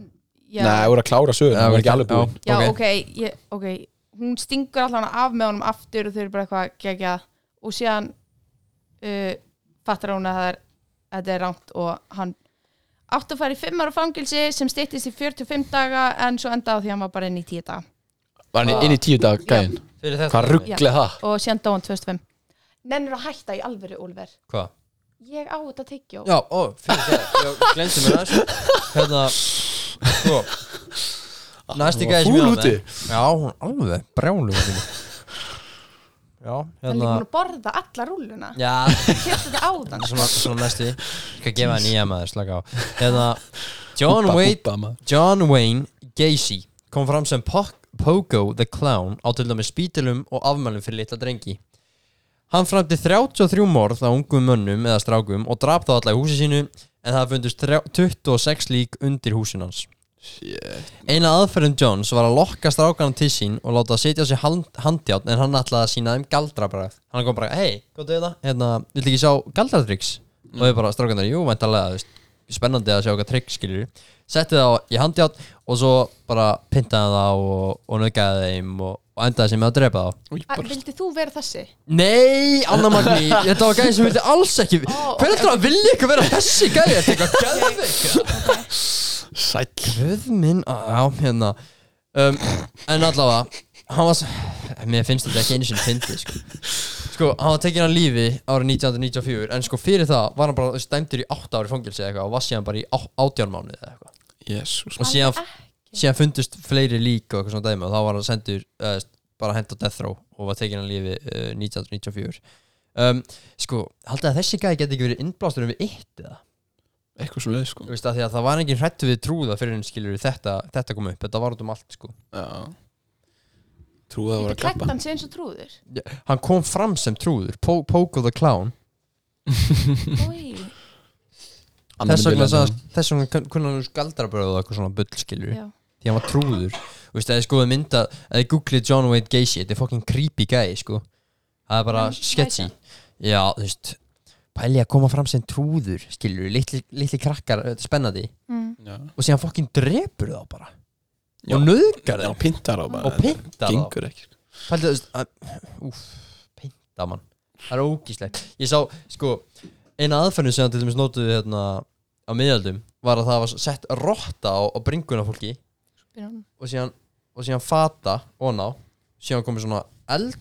Speaker 4: já,
Speaker 2: Nei, þú eru að klára sögum, það er ekki alveg búin.
Speaker 4: já ok, ég, ok hún stingur allan af með honum aftur og þau eru bara eitthvað gegja og síðan uh, fattar hún að það er, að þetta er rangt og hann átt að fara í 5 ára fangilsi sem styttist í 45 daga en svo endaði á því að hann var bara inn í 10 daga
Speaker 2: Var
Speaker 4: Ah.
Speaker 2: hann inn í tíu dag gæðin?
Speaker 1: Fyrir þetta
Speaker 2: Hvað rugglega það?
Speaker 4: og síðan dó hann 2005 Nennir að hætta í alvöru, Úlver
Speaker 1: Hvað?
Speaker 4: Ég á þetta tyggjó
Speaker 1: Já, ó, fyrir það Ég glemti mér þessu Hérna, sko Næsti
Speaker 2: Hún var
Speaker 1: gæði sem ég
Speaker 2: fúl
Speaker 1: var með
Speaker 2: úti.
Speaker 1: Já, hún alveg brjálu Já,
Speaker 4: Hann er líka
Speaker 1: hérna
Speaker 4: búin að borða alla rúluna
Speaker 1: Já,
Speaker 4: Kjöftu þetta áðan
Speaker 1: svona, svona næstu Ég skal gefa hann nýja maður, slaka á Hérna, John
Speaker 2: Húpa,
Speaker 1: Wayne
Speaker 2: húpa, maður.
Speaker 1: John Wayne Gacy kom fram sem Poc- Pogo the Clown á til dæmis spítilum og afmælum fyrir litla drengi Hann framdi 33 morð á ungum mönnum eða strákum og draf þá alla í húsi sínu en það fundust 3 26 lík undir húsin hans Eina aðferðum Jones var að lokka strákanum til sín og láta setja sér hand, handjátt en hann ætlaði að sína þeim galdrabrað Hann kom bara, hei, hvað er það? Hérna, vill ekki sjá galdratryggs? Og þau bara, strákanar, jú, væntalega, þú veist Spennandi að sjá hvað trygg skilur Setti það á- í handjátt og svo bara pyntaði það og, og nöggaði þeim og, og endaði sem með að drepa þá
Speaker 2: Új,
Speaker 4: Að-
Speaker 2: bara-
Speaker 4: Vildi þú vera þessi?
Speaker 1: Nei, Anna Magni, þetta var gæði sem vildi alls ekki
Speaker 4: Ó,
Speaker 1: Hver heldur að vilja ykkur vera þessi gæði? Þetta er eitthvað gæðveik
Speaker 2: Sæll.
Speaker 1: Guð minn, á, já, hérna um, En allavega Hann var svo Mér finnst þetta ekki einu sinni fyndi sko. Sko, hann var tekin af lífi árið 1994 En sko, fyrir það var hann bara þú veist, dæmdur í 8 ári fangilsi eða eitthvað Og var síðan bara í á- 18 mánuði eða eitthvað
Speaker 2: Jésús
Speaker 1: Og síðan, síðan fundust fleiri lík og eitthvað svona dæmi Og þá var hann sendur, uh, bara hent á death row Og var tekin af lífi uh, 1994 um, Sko, haldið að þessi gæði geti ekki verið innblástur um við eitt eða
Speaker 2: Eitthvað svo leið sko
Speaker 1: Þú veist að því að það var engin hrættu við trúða fyrir henni skilur þetta, þetta kom upp, þetta var út um allt sko
Speaker 2: Já Trúið að það
Speaker 4: Þetta
Speaker 2: voru
Speaker 4: er
Speaker 2: að klappa
Speaker 4: klættan sem svo trúður
Speaker 1: Hann kom fram sem trúður, Po- Pogo the Clown
Speaker 4: Oj,
Speaker 2: Annar
Speaker 1: Þess
Speaker 2: myndi
Speaker 1: vegna,
Speaker 2: vilja
Speaker 1: sagði- þess vegna kun- kunni hann skaldrabröð og eitthvað svona bull skilur
Speaker 4: já.
Speaker 1: Því hann var trúður Þú veist að þið skoðu mynda, að þið googlið John Wayne Gacy Þetta er fucking creepy gæi sko Það er bara
Speaker 4: Hann
Speaker 1: sketchy
Speaker 4: læsa.
Speaker 1: Já, þú veist Pæli að koma fram sem trúður skilur, litli, litli krakkar, þetta er spennandi
Speaker 4: Mm.
Speaker 2: Já.
Speaker 1: Og síðan fucking drepur þá bara
Speaker 2: Já.
Speaker 1: Og nöðgar
Speaker 2: Já,
Speaker 1: þeim
Speaker 2: pintar á bara
Speaker 1: Og pyntar þá
Speaker 2: Gengur ekki sko.
Speaker 1: Pældu, þú veist, að- úff, pynta mann Það er ógíslegt Ég sá, sko, eina aðferðin sem hann til dæmis notuði hérna á miðaldum var að það var sett rotta á, á bringuna á fólki og síðan, og síðan fata on á, síðan komið svona eld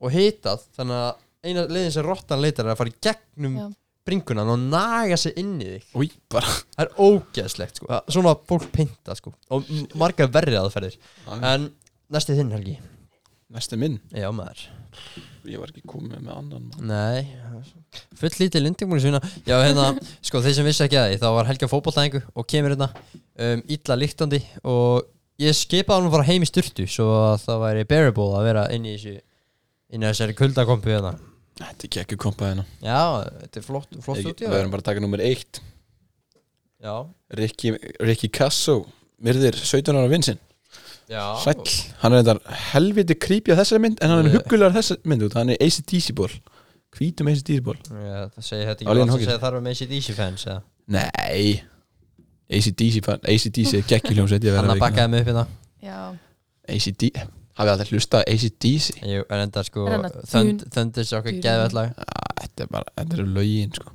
Speaker 1: og hitað þannig að eina leiðin sem rottan leitar er að fara í gegnum
Speaker 4: Já.
Speaker 1: bringuna og naga sig inn í þig
Speaker 2: Új, bara
Speaker 1: Það er ógeðslegt, sko, Það- svona fólk pynta, sko og m- margar verri aðferðir
Speaker 2: Mm.
Speaker 1: En næsti þinn, Helgi
Speaker 2: Næsti minn
Speaker 1: Já, maður
Speaker 2: Ég var ekki komið með annan mann
Speaker 1: Nei, full lítið lindingmúli sína Já, hérna, sko, þeir sem vissi ekki að því þá var Helga fótbolltæðingu og kemur hérna um, illa líktandi og ég skipaði hann að fara heim í styrtu svo að það væri bearable að vera inn í þessu inn í þessari kuldakompu hérna
Speaker 2: Þetta er ekki ekki kompaðina
Speaker 1: Já, þetta er flott, flott
Speaker 2: Við
Speaker 1: út
Speaker 2: verðum bara að taka nummer eitt
Speaker 1: Já,
Speaker 2: Rikki, Rikki Kassó Myrðir 17 ára vinsinn
Speaker 1: já
Speaker 2: Sæll Hann er þetta helviti creepy á þessari mynd En hann er
Speaker 1: Yeah.
Speaker 2: huggulegar þessari mynd út Hann er ACDC ból Hvítum ACDC ból
Speaker 1: Já, það segir þetta
Speaker 2: Alien
Speaker 1: ekki Það
Speaker 2: Hawkins.
Speaker 1: segir þarf að með sér DC fans eða.
Speaker 2: Nei ACDC fan ACDC er geggiljómsveit Ég
Speaker 1: Hann
Speaker 2: verð
Speaker 1: að
Speaker 2: að veikna
Speaker 1: bakkaði mig upp hérna
Speaker 4: já,
Speaker 2: ACD Hafið alltaf hlustað á ACDC
Speaker 1: Jú, en enda sko
Speaker 4: Er hann að-
Speaker 1: Þönd- Þöndis okkar
Speaker 4: Dun-
Speaker 1: geðvellag
Speaker 2: Þetta er bara Þetta eru lögin sko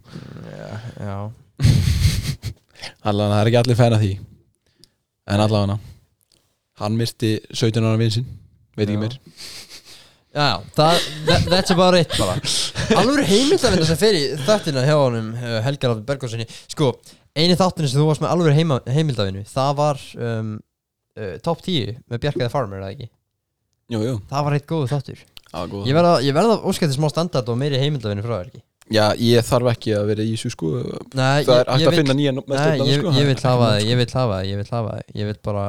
Speaker 1: Já, já
Speaker 2: Allavega það er ekki allir fæn af því En allavega Hann myrti 17 ára vinsinn Veit ekki
Speaker 1: Já.
Speaker 2: mér
Speaker 1: Já, það, that, that's about it bara Alveg heimildavinda sem fer í þættina hjá honum uh, Helgar Alveg Bergóðssoni Sko, eini þáttinu sem þú varst með alveg heima, heimildavinu Það var um, uh, top 10 með Bjarkaði Farmer, eða ekki
Speaker 2: Jú, jú
Speaker 1: Það var eitt góðu þáttur
Speaker 2: Á, góð.
Speaker 1: Ég verða verð að óska til smá standard og meiri heimildavinu frá þér ekki
Speaker 2: Já, ég þarf ekki að vera í þessu sko Það
Speaker 1: Nei,
Speaker 2: er hægt að finna sko. nýja
Speaker 1: Nei, ég, ég vil hafa það, ég vil hafa það, ég vil hafa það Ég vil bara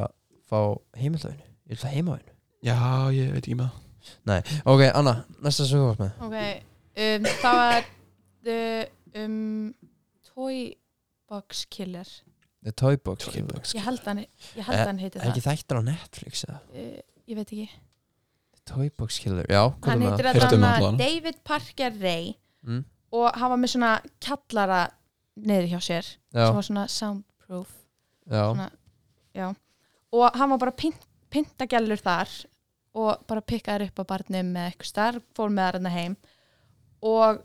Speaker 1: fá heimildavinu Ég vil fá heimavinu
Speaker 2: Já, ég veit ekki með það
Speaker 1: Ok, Anna, næsta sem þú varst með
Speaker 4: ok um, það var uh, um, toy box killer
Speaker 1: The Toy Box
Speaker 2: Toy Box.
Speaker 4: ég held hann, ég held
Speaker 1: Eh,
Speaker 4: hann heiti
Speaker 1: Er
Speaker 4: það
Speaker 1: ekki þættir á Netflix eða?
Speaker 4: uh, ég veit ekki
Speaker 1: Toy Box Killer, já, hvað
Speaker 4: hann
Speaker 1: er með
Speaker 4: heitir
Speaker 1: það?
Speaker 2: Heyrðu um
Speaker 4: þetta
Speaker 2: allan.
Speaker 4: David Parker Ray
Speaker 1: Mm.
Speaker 4: og hann var með svona kallara niður hjá sér sem
Speaker 1: Já,
Speaker 4: var svona soundproof
Speaker 1: já,
Speaker 4: og hann var bara pynt, pyntagellur þar og bara pikkaður upp á barnum með eitthvað starf, fór með þarna heim og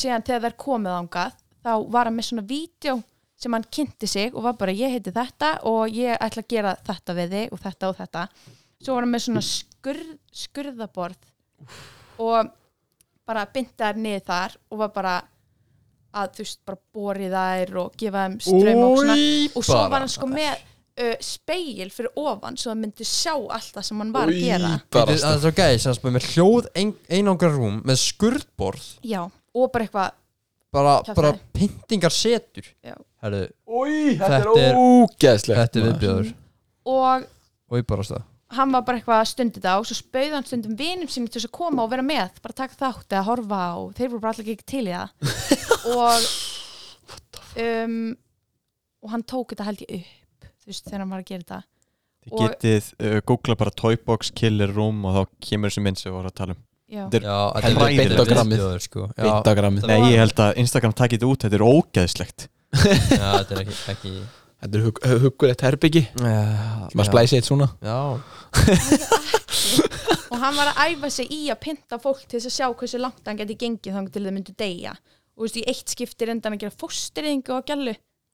Speaker 4: síðan þegar þær komið ángað þá var hann með svona vídeo sem hann kynnti sig og var bara ég heiti þetta og ég ætla að gera þetta við þig og þetta og þetta svo var hann með svona skurð, skurðaborð og bara byndaðar niður þar og var bara að þú veist bara borið þær og gefa þeim strömm og svona
Speaker 1: Új,
Speaker 4: og svo
Speaker 1: bara.
Speaker 4: var hann sko með uh, speil fyrir ofan svo það myndi sjá allt það sem hann var að gera
Speaker 1: Það er það er svo gæðis, hann spyrir með hljóð ein- einangra rúm með skurðborð
Speaker 4: já, og bara eitthvað
Speaker 1: bara,
Speaker 4: Kjaftaði.
Speaker 1: bara pyntingar setur
Speaker 4: Já.
Speaker 1: Herru,
Speaker 2: Új,
Speaker 1: Þetta er-
Speaker 2: ógeðslegt
Speaker 1: þetta er
Speaker 2: maður.
Speaker 1: viðbjöður
Speaker 4: og
Speaker 1: og ég bara stað
Speaker 4: hann var bara eitthvað að stundi það og svo spauði hann stundum vinum sem til þess að koma og vera með bara taka þátt eða horfa og þeir voru bara allir ekki til í það og um, og hann tók þetta held ég upp þú veist þegar hann var að gera þetta
Speaker 3: Þið getið, uh, googla bara Toybox Killer Room og þá kemur þessi mynd sem við vorum að tala um
Speaker 4: já,
Speaker 3: Þetta er-
Speaker 1: Já, þetta
Speaker 3: Helviti
Speaker 1: er beint á
Speaker 3: viðbjóður.
Speaker 1: grammið sko. já,
Speaker 2: Beintagramið
Speaker 3: Nei, ég held að Instagram takit þetta út, þetta er ógeðslegt
Speaker 1: já, þetta er ekki, ekki
Speaker 2: Þetta er hug, huggulegt herbyggi Maður
Speaker 1: já,
Speaker 2: splæsi eitt svona
Speaker 1: já,
Speaker 4: og hann var að æfa sig í að pynta fólk til þess að sjá hversu langt hann geti gengið þannig til þau myndu deyja og þú veist, í eitt skipti reynda hann að gera fóstyrðingu og gælu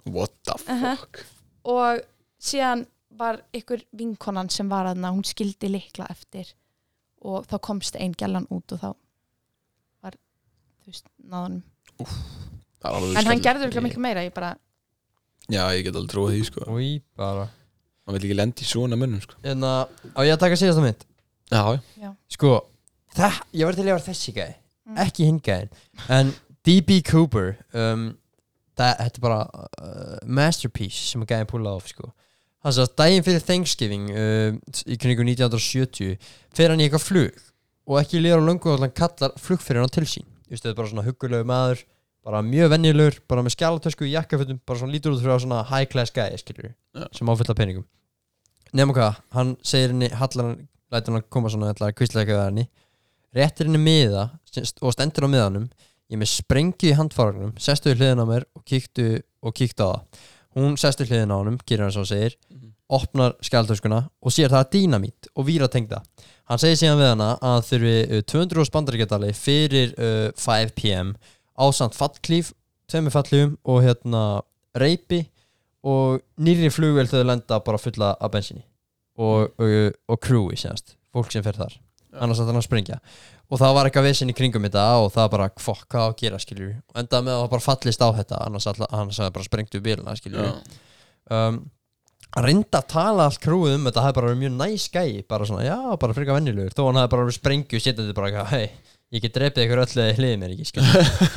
Speaker 2: What the fuck
Speaker 4: og síðan var ykkur vinkonan sem var aðna, hún skildi likla eftir og þá komst einn gælan út og þá var þú veist, náðanum
Speaker 2: Alveg
Speaker 4: en hann
Speaker 2: skellir.
Speaker 4: gerður ekki miklu meira, ég bara
Speaker 2: Já, ég get alveg trúið því sko
Speaker 1: Új, bara
Speaker 2: Hann vil ekki lendi í svona mönnum sko
Speaker 1: En á ég að taka síðasta mynd
Speaker 2: Já, já
Speaker 1: Sko, það, ég var til að vera þessi gæði Ekki hinn gæðin En D.B. Cooper um, það, Þetta er bara uh, masterpiece sem að gæði púlað of sko Hann sagði að daginn fyrir Thanksgiving uh, í kringu 1970 fer hann í eitthvað flug og ekki lýra á löngu og hann kallar flugfyrirna til sín Þú veist, þetta er bara svona huggulegu maður bara mjög venjulegur, bara með skjálatösku í jakkafötum, bara svona lítur út fyrir að svona high class guy, skilur,
Speaker 2: Já.
Speaker 1: sem áfyllt af peningum nema hvað, hann segir henni hallar hann, lætur hann að koma svona ætlar að kvistla eitthvað að henni réttir henni miða sem- og stendur á miðanum ég er með sprengju í handfaragnum sestu við hliðin á mér og kíktu og kíktu á það hún sestu hliðin á honum, gerir hann svo segir opnar skjáltöskuna og sér það dínamít og víratengda hann segir síðan við hana að hann þurfi uh, 200 spandaríkjadali fyrir uh, 5pm ásamt fallklíf tveimur fallklífum og hérna reypi og nýri flugvél þau lenda bara fulla af bensinni og, og, og krúi sérst, fólk sem fer þar annars ætti hann að springja og það var eitthvað vesinn í kringum þetta og það bara fokk, hvað á að gera skilur og endaði með að það bara fallist á þetta annars ætla- annars að bara sprengtu bíluna skilur
Speaker 2: Já,
Speaker 1: um, hann reyndi að tala allt krúið um þetta það hefði bara verið mjög næs gæi bara svona, já, bara frika vennilegur þó hann hefði bara verið sprengju sétandi bara eitthvað, hei, ég get drepið ykkur öllu eða hliðið mér ekki skilur."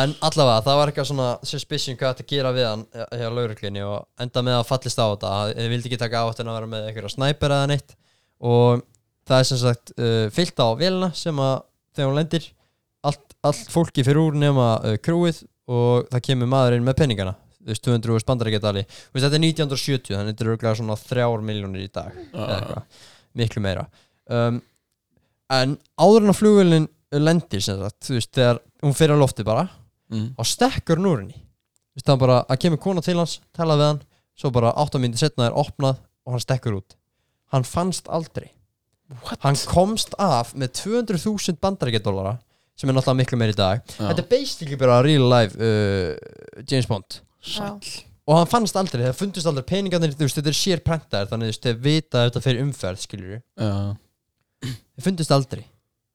Speaker 1: en allavega, það var eitthvað svona suspicion hvað þetta gera við hann eh, hjá lauruglinni og enda með að fallist á þetta þið vildi ekki taka áhættun að vera með eitthvað snæper eða neitt og það er sem sagt uh, fyllt á vélina sem að þegar hún lendir allt, allt fólki fyrir úr nema uh, krúið og það kemur maðurinn með peningana þú veist, 200 spandarækjadali Þú veist, þetta er 1970 þannig þetta er örglega svona þrjár miljónir í dag eða
Speaker 2: já,
Speaker 1: eitthvað, miklu meira um, en áður en að flugvölin lendir sem sagt, þú veist, þegar hún fyrir á lofti bara
Speaker 2: Mm.
Speaker 1: og stekkur hún úr henni þú veist, hann bara, að kemur kona til hans tala við hann, svo bara 8 mínútur setna er opnað og hann stekkur út hann fannst aldrei What? hann komst af með 200.000 bandarækjadólara sem er náttúrulega miklu meira í dag
Speaker 2: já.
Speaker 1: þetta er basically bara real life uh, James Bond
Speaker 4: já,
Speaker 1: og hann fannst aldrei, það fundust aldrei peningarnir þú veist, þetta er sér prentaðir þannig þú veist, þeir vita að þetta fyrir umferð, skiljur
Speaker 2: Já.
Speaker 1: þeir fundust aldrei,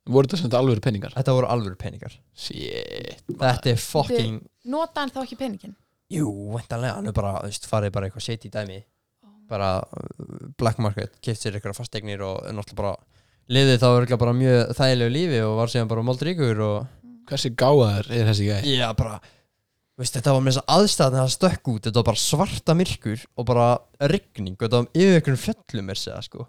Speaker 2: Voru þetta sem þetta alveg peningar?
Speaker 1: þetta voru alvöru peningar
Speaker 2: Shit
Speaker 1: þetta er fucking,
Speaker 4: nota hann þá ekki peningin
Speaker 1: jú, væntanlega hann er bara, þú veist, farið bara eitthvað shady dæmi bara uh, black market keft sér eitthvað fastegnir og er náttúrulega bara liðið þá örgulega bara mjög þægilegu lífi og var síðan bara moldríkur og
Speaker 2: Hversi gáðar er þessi gæði?
Speaker 1: já, bara þú Veist, þetta var með þess að aðstæðan það stökk út þetta var bara svarta myrkur og bara rigning og þetta var yfir ykkur fjöllum er segja sko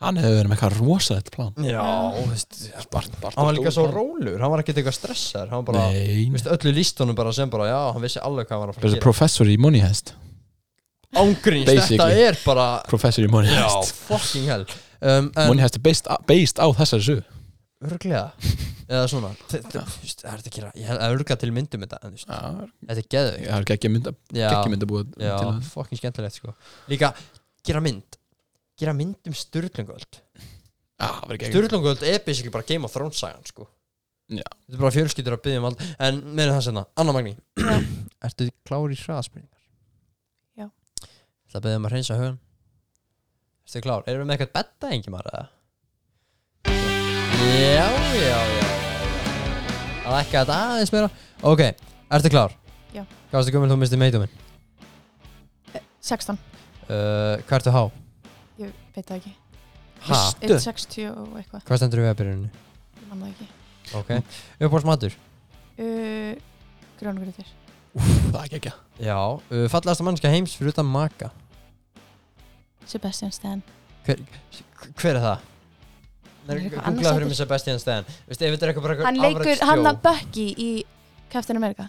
Speaker 2: Hann hefur verið með eitthvað rosalegt plan
Speaker 1: Já, þú veist
Speaker 2: Bart, bart,
Speaker 1: Hann var líka svo rólur, hann var ekkert eitthvað stressar Hann bara,
Speaker 2: Nei
Speaker 1: þú veist, öllu líst honum bara sem bara Já, hann vissi alveg hvað hann var að fara að
Speaker 2: Þessi
Speaker 1: gera
Speaker 2: professor í Money Heist
Speaker 1: Ángríns, þetta
Speaker 2: Basically.
Speaker 1: er bara
Speaker 2: Professor í Money
Speaker 1: Já,
Speaker 2: Heist
Speaker 1: fucking hell um, En,
Speaker 2: Money Heist er based, á- based á þessari sög
Speaker 1: örglega Eða svona, þ- þ- þú veist, það er þetta að gera Ég hef örglega til myndum þetta, en þú veist
Speaker 2: Já,
Speaker 1: Þetta er geðvig
Speaker 2: það er ekki mynda Ekki mynda búið til
Speaker 1: Já,
Speaker 2: það
Speaker 1: fucking skemmtilegt sko Líka, gera mynd Gera mynd um Sturlungöld
Speaker 2: Já, það verður ekki
Speaker 1: Sturlungöld er basically bara Game of Thrones sagan sko
Speaker 2: Já.
Speaker 1: Þetta er bara fjölskyldur að byggja um allt En meira það senna, Anna Magni
Speaker 4: Já.
Speaker 1: Ertu klár í hraðaspringar?
Speaker 4: Já.
Speaker 1: Það beðum að hreinsa hugan Ertu klár? Erum við með eitthvað betta engi maður eða? Já, já, já, já, já Það er ekki að þetta aðeins meira Ok, ertu klár?
Speaker 4: Já.
Speaker 1: Hvað varstu gömul þú misti meituminn?
Speaker 4: Eh, 16,
Speaker 1: Uh, hvað ertu há?
Speaker 4: ég veit það ekki
Speaker 1: Ha?
Speaker 4: 160 og eitthvað,
Speaker 1: Hvað stendur við að byrjunni?
Speaker 4: ég man það ekki
Speaker 1: Ok Uppbórs matur?
Speaker 4: uh, grjónugröður
Speaker 2: Það er ekki ekki
Speaker 1: Já uh, Fallasta mannska heims fyrir utan maka
Speaker 4: Sebastian Stan
Speaker 1: Hver er það?
Speaker 4: Það er eitthvað annað
Speaker 1: Googlað fyrir
Speaker 4: sæti.
Speaker 1: mig Sebastian Stan Veistu, ef þetta er eitthvað bara
Speaker 4: hann
Speaker 1: eitthvað
Speaker 4: leikur
Speaker 1: afrækt
Speaker 4: hann
Speaker 1: sjó.
Speaker 4: að Bucky í Captain America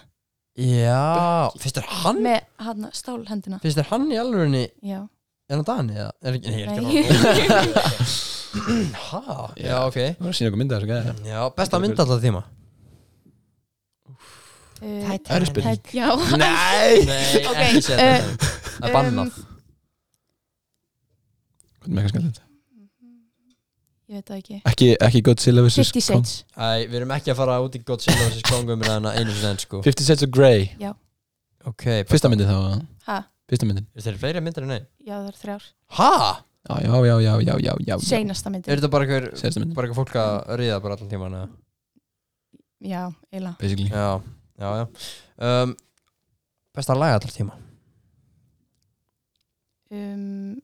Speaker 1: Já, finnst þér hann?
Speaker 4: með hann stálhendina
Speaker 1: Finnst þér hann í alvörunni
Speaker 4: já,
Speaker 1: Er hann Dani eða? Er, nei, ég er
Speaker 4: Nei.
Speaker 1: ekki að fara Hæ? Já, ok
Speaker 2: Það verður að sína okkur mynda þessu gæði
Speaker 1: Já, besta mynd alltaf tíma
Speaker 4: uh,
Speaker 2: Það er spil
Speaker 4: tæt, já
Speaker 1: Nei Nei,
Speaker 4: Ok, um,
Speaker 1: ekki setja
Speaker 4: eh,
Speaker 1: þetta. Það er bannað
Speaker 2: Hvernig með eitthvað skemmtilegt
Speaker 4: ég veit það ekki
Speaker 2: Ekki, ekki Godzilla vs. Kong.
Speaker 4: 50 Shades
Speaker 1: Æ, við erum ekki að fara út í Godzilla vs. Kong um hérna einu fyrir enn sko
Speaker 2: 50 Shades of Grey
Speaker 1: Ok, besta-
Speaker 2: Fyrsta myndin þá eða?
Speaker 4: ha,
Speaker 2: Fyrsta myndin
Speaker 1: Eru þeir fleiri myndir en einn?
Speaker 4: já það er þrjár
Speaker 1: Hæ?
Speaker 2: Já, já, já, já, já, já, já
Speaker 4: seinasta myndin
Speaker 1: Er þetta bara eitthvað
Speaker 2: Seinasta myndin.
Speaker 1: bara eitthvað fólk að ríða bara allan tíman eða?
Speaker 4: já, eila
Speaker 2: basically
Speaker 1: Já, já, já um, Besta laga allar tíma
Speaker 4: um,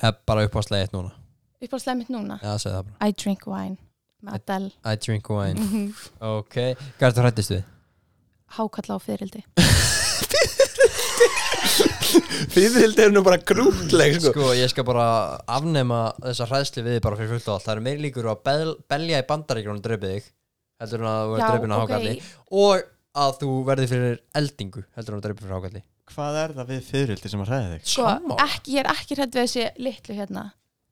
Speaker 1: Eða Eh, bara uppáðslega eitt núna
Speaker 4: upp á slemmit núna
Speaker 1: Já, segðu það bara
Speaker 4: I drink wine með Adele
Speaker 1: I drink wine
Speaker 4: Mhm.
Speaker 1: Ok, hvað er það hrættist við?
Speaker 4: hákalla á fyririldi
Speaker 2: Fyrirhild er nú bara grútleg sko.
Speaker 1: Sko, ég skal bara afnema þessa hræðslu við þig bara fyrir fullt og allt Það eru meiri líkur á að bel, belja í bandaríkjum og dreipið þig heldur en að þú verður dreipin á hákalli og að þú verði fyrir eldingu heldur en að dreipin fyrir hákalli
Speaker 3: Hvað er það við fyririldi sem að hræða þig?
Speaker 4: sko,
Speaker 1: Sammála.
Speaker 4: ekki, ég er ekki hrædd við þessi litlu hérna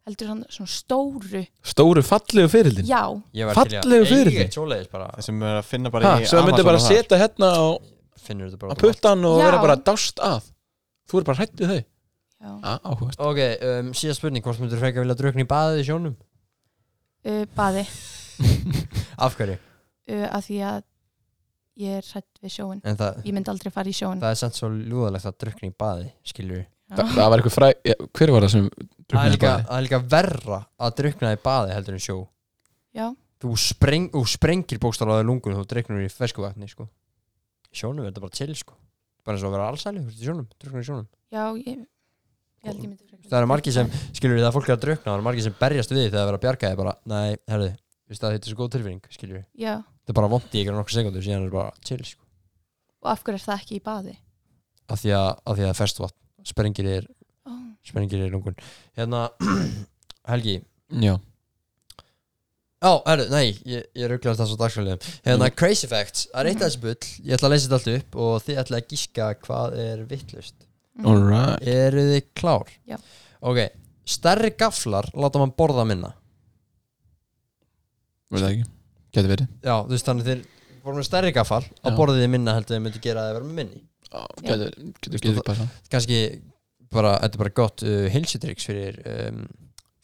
Speaker 4: heldur hann svona stóru
Speaker 2: Stóru fallegu fyrirhildin
Speaker 4: já,
Speaker 1: Ég væri til í að
Speaker 2: Fallegur
Speaker 1: eiga
Speaker 2: fyrirliði.
Speaker 1: eitt svoleiðis bara
Speaker 3: Það sem er að finna bara í
Speaker 2: Svo það myndi bara
Speaker 3: og þar.
Speaker 2: setja hérna á,
Speaker 1: finnur þetta
Speaker 2: á
Speaker 1: bara út um allt.
Speaker 2: puttan og
Speaker 4: Já.
Speaker 2: vera bara dást að Þú er bara hrættu þau
Speaker 4: já.
Speaker 2: ah, Áhugast
Speaker 1: Ok, um, síðan spurning, hvort myndur þú frekar vilja drukna í baðið í sjónum?
Speaker 4: Uh, baði
Speaker 1: Af hverju?
Speaker 4: uh, að því að ég er hrædd við sjóin
Speaker 1: En það,
Speaker 4: ég myndi aldrei fara í sjóin
Speaker 1: það er samt svo ljúðalegt að drukna í baði, skilur við
Speaker 2: Þa, Það var eitthvað fræ, ja, hver var það sem
Speaker 1: Það er
Speaker 2: druknaði
Speaker 1: líka,
Speaker 2: bara?
Speaker 1: það er líka verra að drukna í baði heldur en sjó
Speaker 4: já,
Speaker 1: Þú, spreng, þú sprengir bókstálaði lungun þú druknar í fersku vatni, sko Í sjónum er þetta bara chill, sko Bara eins og að vera allsæli, þú veist, í sjónum, druknar í sjónum
Speaker 4: já, ég, ég held ég myndi frekar-
Speaker 1: Það eru margir sem, skilur við, það er fólk er að drukna Það eru margir sem berjast við því þegar það er að bjarga þið bara Nei, herðu, veist það, þetta er svo góð tilfinning, skilur við
Speaker 4: já,
Speaker 1: Þetta er bara vondi ykkur nokkur sekundur, síðan er bara chill, sko
Speaker 4: og af hverju er það ekki í baði
Speaker 1: Af því að, af því að það er ferskt vatn, sprengir þér
Speaker 4: ó,
Speaker 1: sprengir í lungun hérna, Helgi
Speaker 2: Já,
Speaker 1: Ó, herru, nei, ég, ég rugglaðist það svo dagskvæliðum Hérna, Crazy Facts, það er eitt aðeins bull Ég ætla að leysa þetta allt upp og þið ætla að gíska hvað er vittlust
Speaker 2: alright
Speaker 1: Eru þið klár?
Speaker 4: Já.
Speaker 1: Ok, stærri gaflar láta mann borða minna
Speaker 2: Verði það ekki Gæti verið
Speaker 1: Já, þú veist þannig þeir voru með stærri gafal
Speaker 2: Já.
Speaker 1: að borðið þið minna heldur þið myndu gera það að vera með minni
Speaker 2: Gæti verið Gæti verið Gæti verið
Speaker 1: Kanski bara, þetta er bara gott uh, hilsutryggs fyrir um,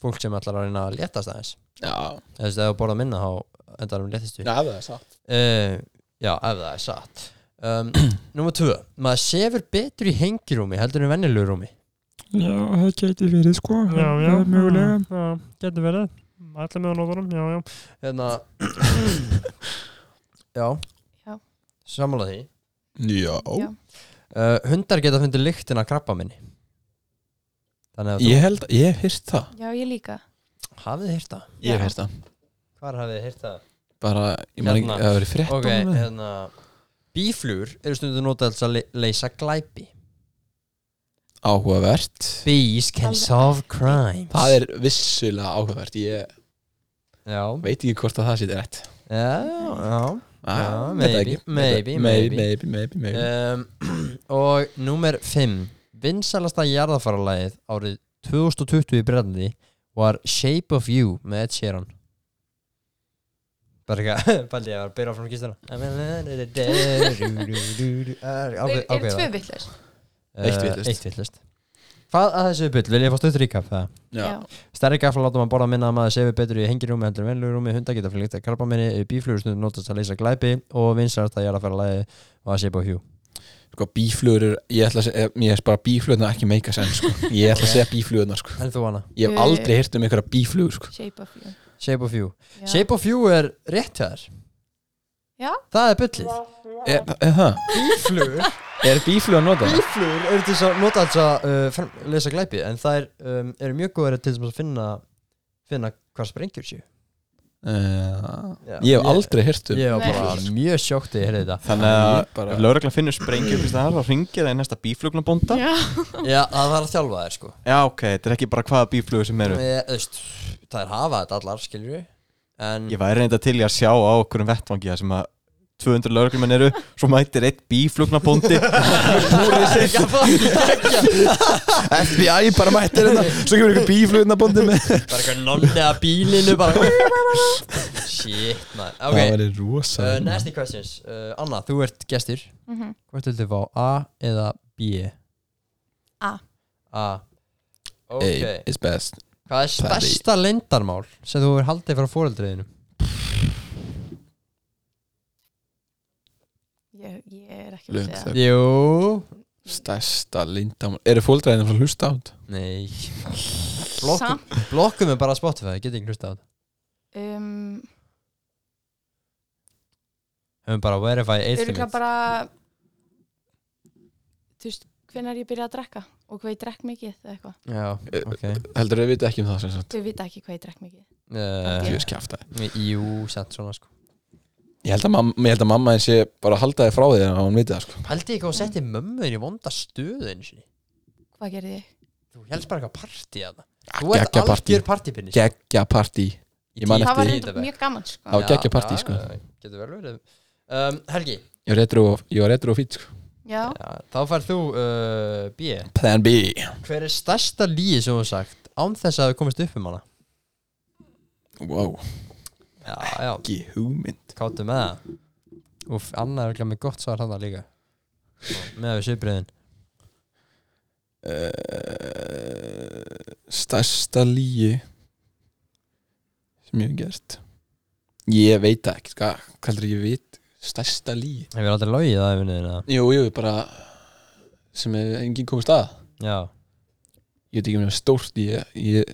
Speaker 1: fólk sem ætlar að reyna að léttast aðeins
Speaker 2: Já,
Speaker 1: Þú veist, ef þú borða minna þá endar um léttistu
Speaker 2: Já, það er satt
Speaker 1: uh, Já, ef það er satt um, Númer tvö Maður sefur betur í hengirúmi heldur en venjulegu rúmi
Speaker 5: Já, það geti verið sko
Speaker 6: Já, já,
Speaker 5: Það er Mögulega
Speaker 6: já, getur verið allir með á nótunum, já, já
Speaker 1: Hérna Já,
Speaker 4: Já.
Speaker 1: Sammála því
Speaker 2: Já
Speaker 4: já,
Speaker 1: uh, Hundar geta fundið lyktin af krabba minni Þannig að
Speaker 2: Ég held, ég hef hýrt það
Speaker 4: já, ég líka
Speaker 1: þú hafið heyrt það
Speaker 2: Ég hef hýrt það
Speaker 1: Hvar hafið heyrt það?
Speaker 2: Bara, ég man ekki,
Speaker 1: Hérna.
Speaker 2: það verið frétt
Speaker 1: Ok, hérna Bíflur eru stundum notað til að le- leysa glæpi
Speaker 2: Áhugavert
Speaker 1: Bees can
Speaker 4: Alveg.
Speaker 1: solve crimes
Speaker 2: Það er vissulega áhugavert Ég
Speaker 1: Já,
Speaker 2: veit ekki hvort að það sýtti rétt
Speaker 1: já, já Já,
Speaker 2: veit það
Speaker 1: maybe,
Speaker 2: Ah, ekki.
Speaker 1: maybe,
Speaker 2: maybe,
Speaker 1: maybe.
Speaker 2: maybe, maybe, maybe.
Speaker 1: um, Og númer 5 Vinsalasta jarðafaralagið árið 2020 í Breitlandi var Shape of You með Ed Sheeran bara eitthvað Paldi ég var að byrja áfram
Speaker 4: okay,
Speaker 1: kýstuna
Speaker 4: er tvö vitlaus
Speaker 2: Eitt vitlust.
Speaker 1: Eh, Eitt vitlust Hvað að þessu byll, vil ég fá stöður ríka það?
Speaker 4: já,
Speaker 1: Stærri gafla láta maður borða minna að maður sefi betur í hengirúmi heldur en venlugurúmi, hunda geta flygt að karpa minni, bíflugur stundum notast að leysa glæpi og vinsast að jara að fara lagi og að sepa á hjú.
Speaker 2: Sko, bíflugur eru, ég ætla að segja, ég er bara bíflugurnar ekki meika senn, sko. Ég ætla að segja bíflugurnar, sko.
Speaker 1: En þú hana?
Speaker 2: Ég hef
Speaker 4: Eh.
Speaker 2: aldrei heyrt um einhverja bíflugur, sko.
Speaker 4: shape of you
Speaker 1: Shape of you.
Speaker 4: já.
Speaker 1: Shape of you er rétt hjá þér.
Speaker 4: Já.
Speaker 1: Það er bullið.
Speaker 2: Er, er það?
Speaker 1: Bíflugur?
Speaker 2: Er bíflugur að nota það?
Speaker 1: Bíflugur eru til þess að nota þess að uh, fram- leysa glæpi en það er, um, eru mjög góður til þess að finna, finna hvað sprengjur séu.
Speaker 2: Uh,
Speaker 1: Já.
Speaker 2: ég hef aldrei heyrt um.
Speaker 1: Eh, Ég var
Speaker 4: Nei.
Speaker 1: bara mjög sjókt þegar ég heyrði þetta.
Speaker 3: Þannig
Speaker 2: Ég
Speaker 3: að
Speaker 2: bara-
Speaker 3: ef lögregla finnur sprengjum fyrst það þá ringir það í næsta bíflugnabónda
Speaker 4: já,
Speaker 1: Já, það var að þjálfa þér sko.
Speaker 3: Já, ok, þetta er ekki bara hvaða bíflugur sem eru
Speaker 1: Ég, þú veist, það er hafa þetta allar, skilur við. En,
Speaker 3: Ég væri reynda til í að sjá á okkur um vettvangi þar sem að 200 lögreglumenn eru svo mætir eitt bíflugnabóndi
Speaker 2: FBI bara mættir þetta, svo kemur einhver bíflugurnar bóndið með.
Speaker 1: bara eitthvað nonni að bílinu bara shit maður ok,
Speaker 2: Það verið
Speaker 1: uh,
Speaker 2: rosa.
Speaker 1: nasty questions uh, Anna, þú ert gestur
Speaker 4: mhm.
Speaker 1: hvort viltu fá A eða B?
Speaker 4: A.
Speaker 1: A ok,
Speaker 2: Hey, it's best.
Speaker 1: hvað er
Speaker 2: það er í-
Speaker 1: stærsta leyndarmál sem þú hefur haldið frá fóreldriðinu?
Speaker 4: ég, ég er ekki að
Speaker 2: Löng
Speaker 4: segja
Speaker 2: þögn.
Speaker 1: jú,
Speaker 2: Stærsta lindamál. Eru fólkdræðin frá hlusta átt?
Speaker 1: nei
Speaker 4: Samt,
Speaker 1: blokkum er bara Spotify, ég get ekki hlusta á þetta
Speaker 4: um,
Speaker 1: um bara verify age
Speaker 4: Öruglega
Speaker 1: limit
Speaker 4: bara Þú veist, hvenær ég byrja að drekka og hvað ég drekk mikið eða eitthvað
Speaker 1: já, ok
Speaker 2: heldur að við vita ekki um það sem sagt
Speaker 4: Þau vita ekki hvað ég drekk mikið
Speaker 1: uh,
Speaker 2: Ég veist ekki aftur
Speaker 1: jú, sent svona sko
Speaker 2: Ég held að mamma, ég held að mamma eins ég bara að halda þið frá því að hún viti það sko
Speaker 1: held ég ekki að setja mömmuðin í vonda stöðu einu sinni
Speaker 4: Hvað gerði ég?
Speaker 1: þú helst bara eitthvað partí að það þú ert
Speaker 2: geggja partí.
Speaker 1: algjör sko. partípinni
Speaker 2: Geggja partí Ah, Ég man
Speaker 1: Í-
Speaker 2: eftir
Speaker 4: Það var
Speaker 2: því.
Speaker 4: reyndar mjög gaman sko.
Speaker 2: Já, geggja partí, sko.
Speaker 1: getur vel verið um, Helgi,
Speaker 2: Ég var retro, ég var retro fýtt sko
Speaker 4: Já,
Speaker 1: já, þá færð þú uh, B
Speaker 2: Plan B
Speaker 1: hver er stærsta líi sem þú hefur sagt án þess að þú komist upp um hana
Speaker 2: Wow,
Speaker 1: já, já,
Speaker 2: ekki hugmynd
Speaker 1: káttu með það Úf, Anna er ekki með gott svar hann líka með við svipriðin
Speaker 2: uh, Stærsta líi sem ég hef gert Ég veit það ekki, hvað hvað heldur ég veit Stærsta líi
Speaker 1: hefur aldrei logið það efinu þina
Speaker 2: Jú, jú, bara sem er enginn komist að
Speaker 1: já
Speaker 2: Ég veit ekki mér stórt ég, ég,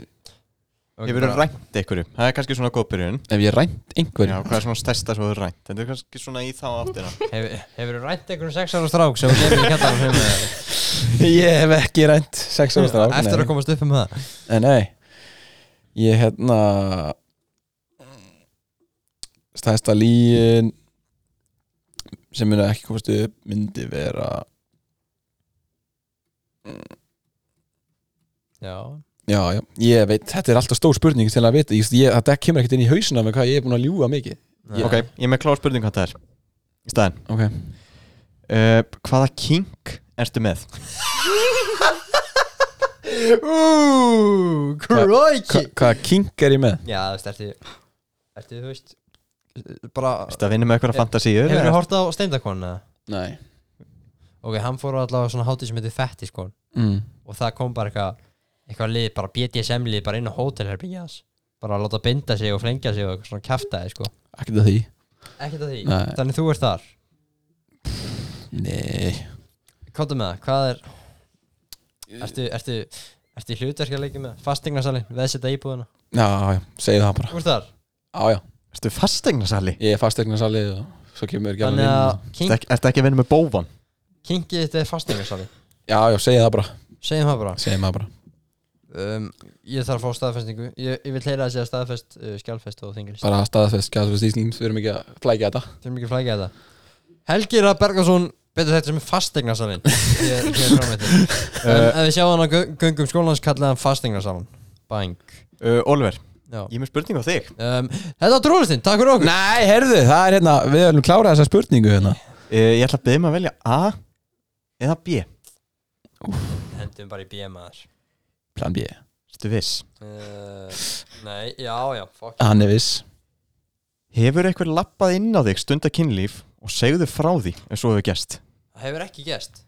Speaker 3: Ég verið rænt einhverju Það er kannski svona góð byrjun
Speaker 2: Ef ég rænt
Speaker 3: Já,
Speaker 2: einhverjum
Speaker 3: hvað er svona stærsta svo þú rænt Þetta er kannski svona í þá áttina
Speaker 1: hefur, hefur rænt einhverjum sex ára strák sem þú kemur í kattanum heim með þér?
Speaker 2: Ég hef ekki rænt sex ára strák
Speaker 1: eftir
Speaker 2: nei.
Speaker 1: að komast upp um það
Speaker 2: En nei Ég hérna Stæðsta líin sem muni ekki komast upp myndi vera
Speaker 1: já
Speaker 2: Já, já, ég veit, þetta er alltaf stór spurning til að vita, ég, ég, þetta kemur ekkert inn í hausuna með hvað ég er búin að ljúga mikið
Speaker 1: Já.
Speaker 3: Ok, ég er með klá spurning hvað það er Í staðinn
Speaker 2: okay.
Speaker 3: uh, Hvaða kink ertu með?
Speaker 1: Ú,
Speaker 2: Hva,
Speaker 1: króiki
Speaker 2: Hvaða kink er ég með?
Speaker 1: Já, þú veist, ertu Ertu, þú veist Bara
Speaker 3: Þetta vinna með eitthvað fantasíur
Speaker 1: Hefur þú
Speaker 3: eða?
Speaker 1: hort á steindakon eða?
Speaker 2: Nei
Speaker 1: Ok, hann fór á allavega svona hátíð sem heitir Fettiskon
Speaker 2: mm.
Speaker 1: Og það kom bara eitthvað Eitthvað lið, bara BDSM lið, bara inn á hótelherbyggja hans Bara að láta binda sig og flengja sig og eitthvað svona kjaftaði, sko
Speaker 2: Ekkert að því
Speaker 1: Ekkert að því
Speaker 2: Nei.
Speaker 1: Þannig þú ert þar
Speaker 2: Nei
Speaker 1: Kóta með það, hvað er Ertu, ertu, ertu í hlutverkja leikið með Fastingnasalinn, veðsetta íbúðina
Speaker 2: Já, já, segið það bara
Speaker 1: Þú ert þar
Speaker 2: Já, já,
Speaker 3: Ertu fasteignasali?
Speaker 2: ég er fasteignarsali og svo kemur ekki
Speaker 1: Þannig að kink,
Speaker 3: Ertu ertu ekki að vinna með bóvan?
Speaker 1: kinkið þetta er fastingnasalinn
Speaker 2: Já, já, segið það bara
Speaker 1: Segjum það bara
Speaker 2: Segið það bara
Speaker 1: um, Ég þarf að fá staðfestingu Ég, ég vil heyra að segja staðfest, uh, skjálfest og þinglist
Speaker 2: bara staðfest, skjáðsfest íslings, við erum ekki að flækja þetta
Speaker 1: Þeir eru mikið flækja þetta Helgi Rapp Bergarsson betur þetta sem er fastegnarsalinn Hér hér fram með þetta um, Ef við sjáum hann á gö- göngum skólans kallaði hann fastegnarsalinn Bang
Speaker 3: Uh, Oliver,
Speaker 1: Já.
Speaker 3: ég er með spurning á þig
Speaker 1: um, Þetta var trúlistinn, takk fyrir okkur
Speaker 2: Nei, herðu, það er hérna, við erum klárað þessa spurningu hérna
Speaker 3: uh, Ég ætla að byrja maður að velja A eða B
Speaker 1: Hendum bara í BMR
Speaker 2: Plan B,
Speaker 3: Ertu viss?
Speaker 1: uh, Nei, já, já, fuck
Speaker 2: hann er viss
Speaker 3: Hefur einhver lappað inn á þig stunda kynlíf og segðu frá því ef svo hefur gæst?
Speaker 1: Það hefur ekki gest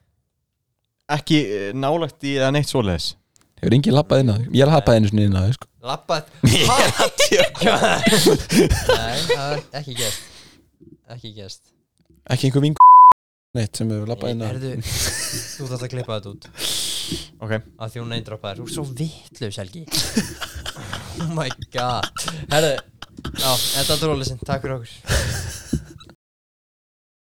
Speaker 3: Ekki eh, nálægt í eða neitt svoleiðis
Speaker 2: Hefur enginn lappað inn á þig? Ég er lappað einu sinni inn á þig, sko
Speaker 1: Lappað Ha? Nei, það er ekki gest Ekki gest
Speaker 2: Ekki einhver ving neitt sem hefur lappað inn á
Speaker 1: Herðu,
Speaker 2: þig
Speaker 1: þú þarft að klippa þetta út
Speaker 3: Ok,
Speaker 1: að því hún eindroppa þér, þú er svo vitlaus Helgi oh my god herðu, já, þetta er dróðleysin, takk fyrir okkur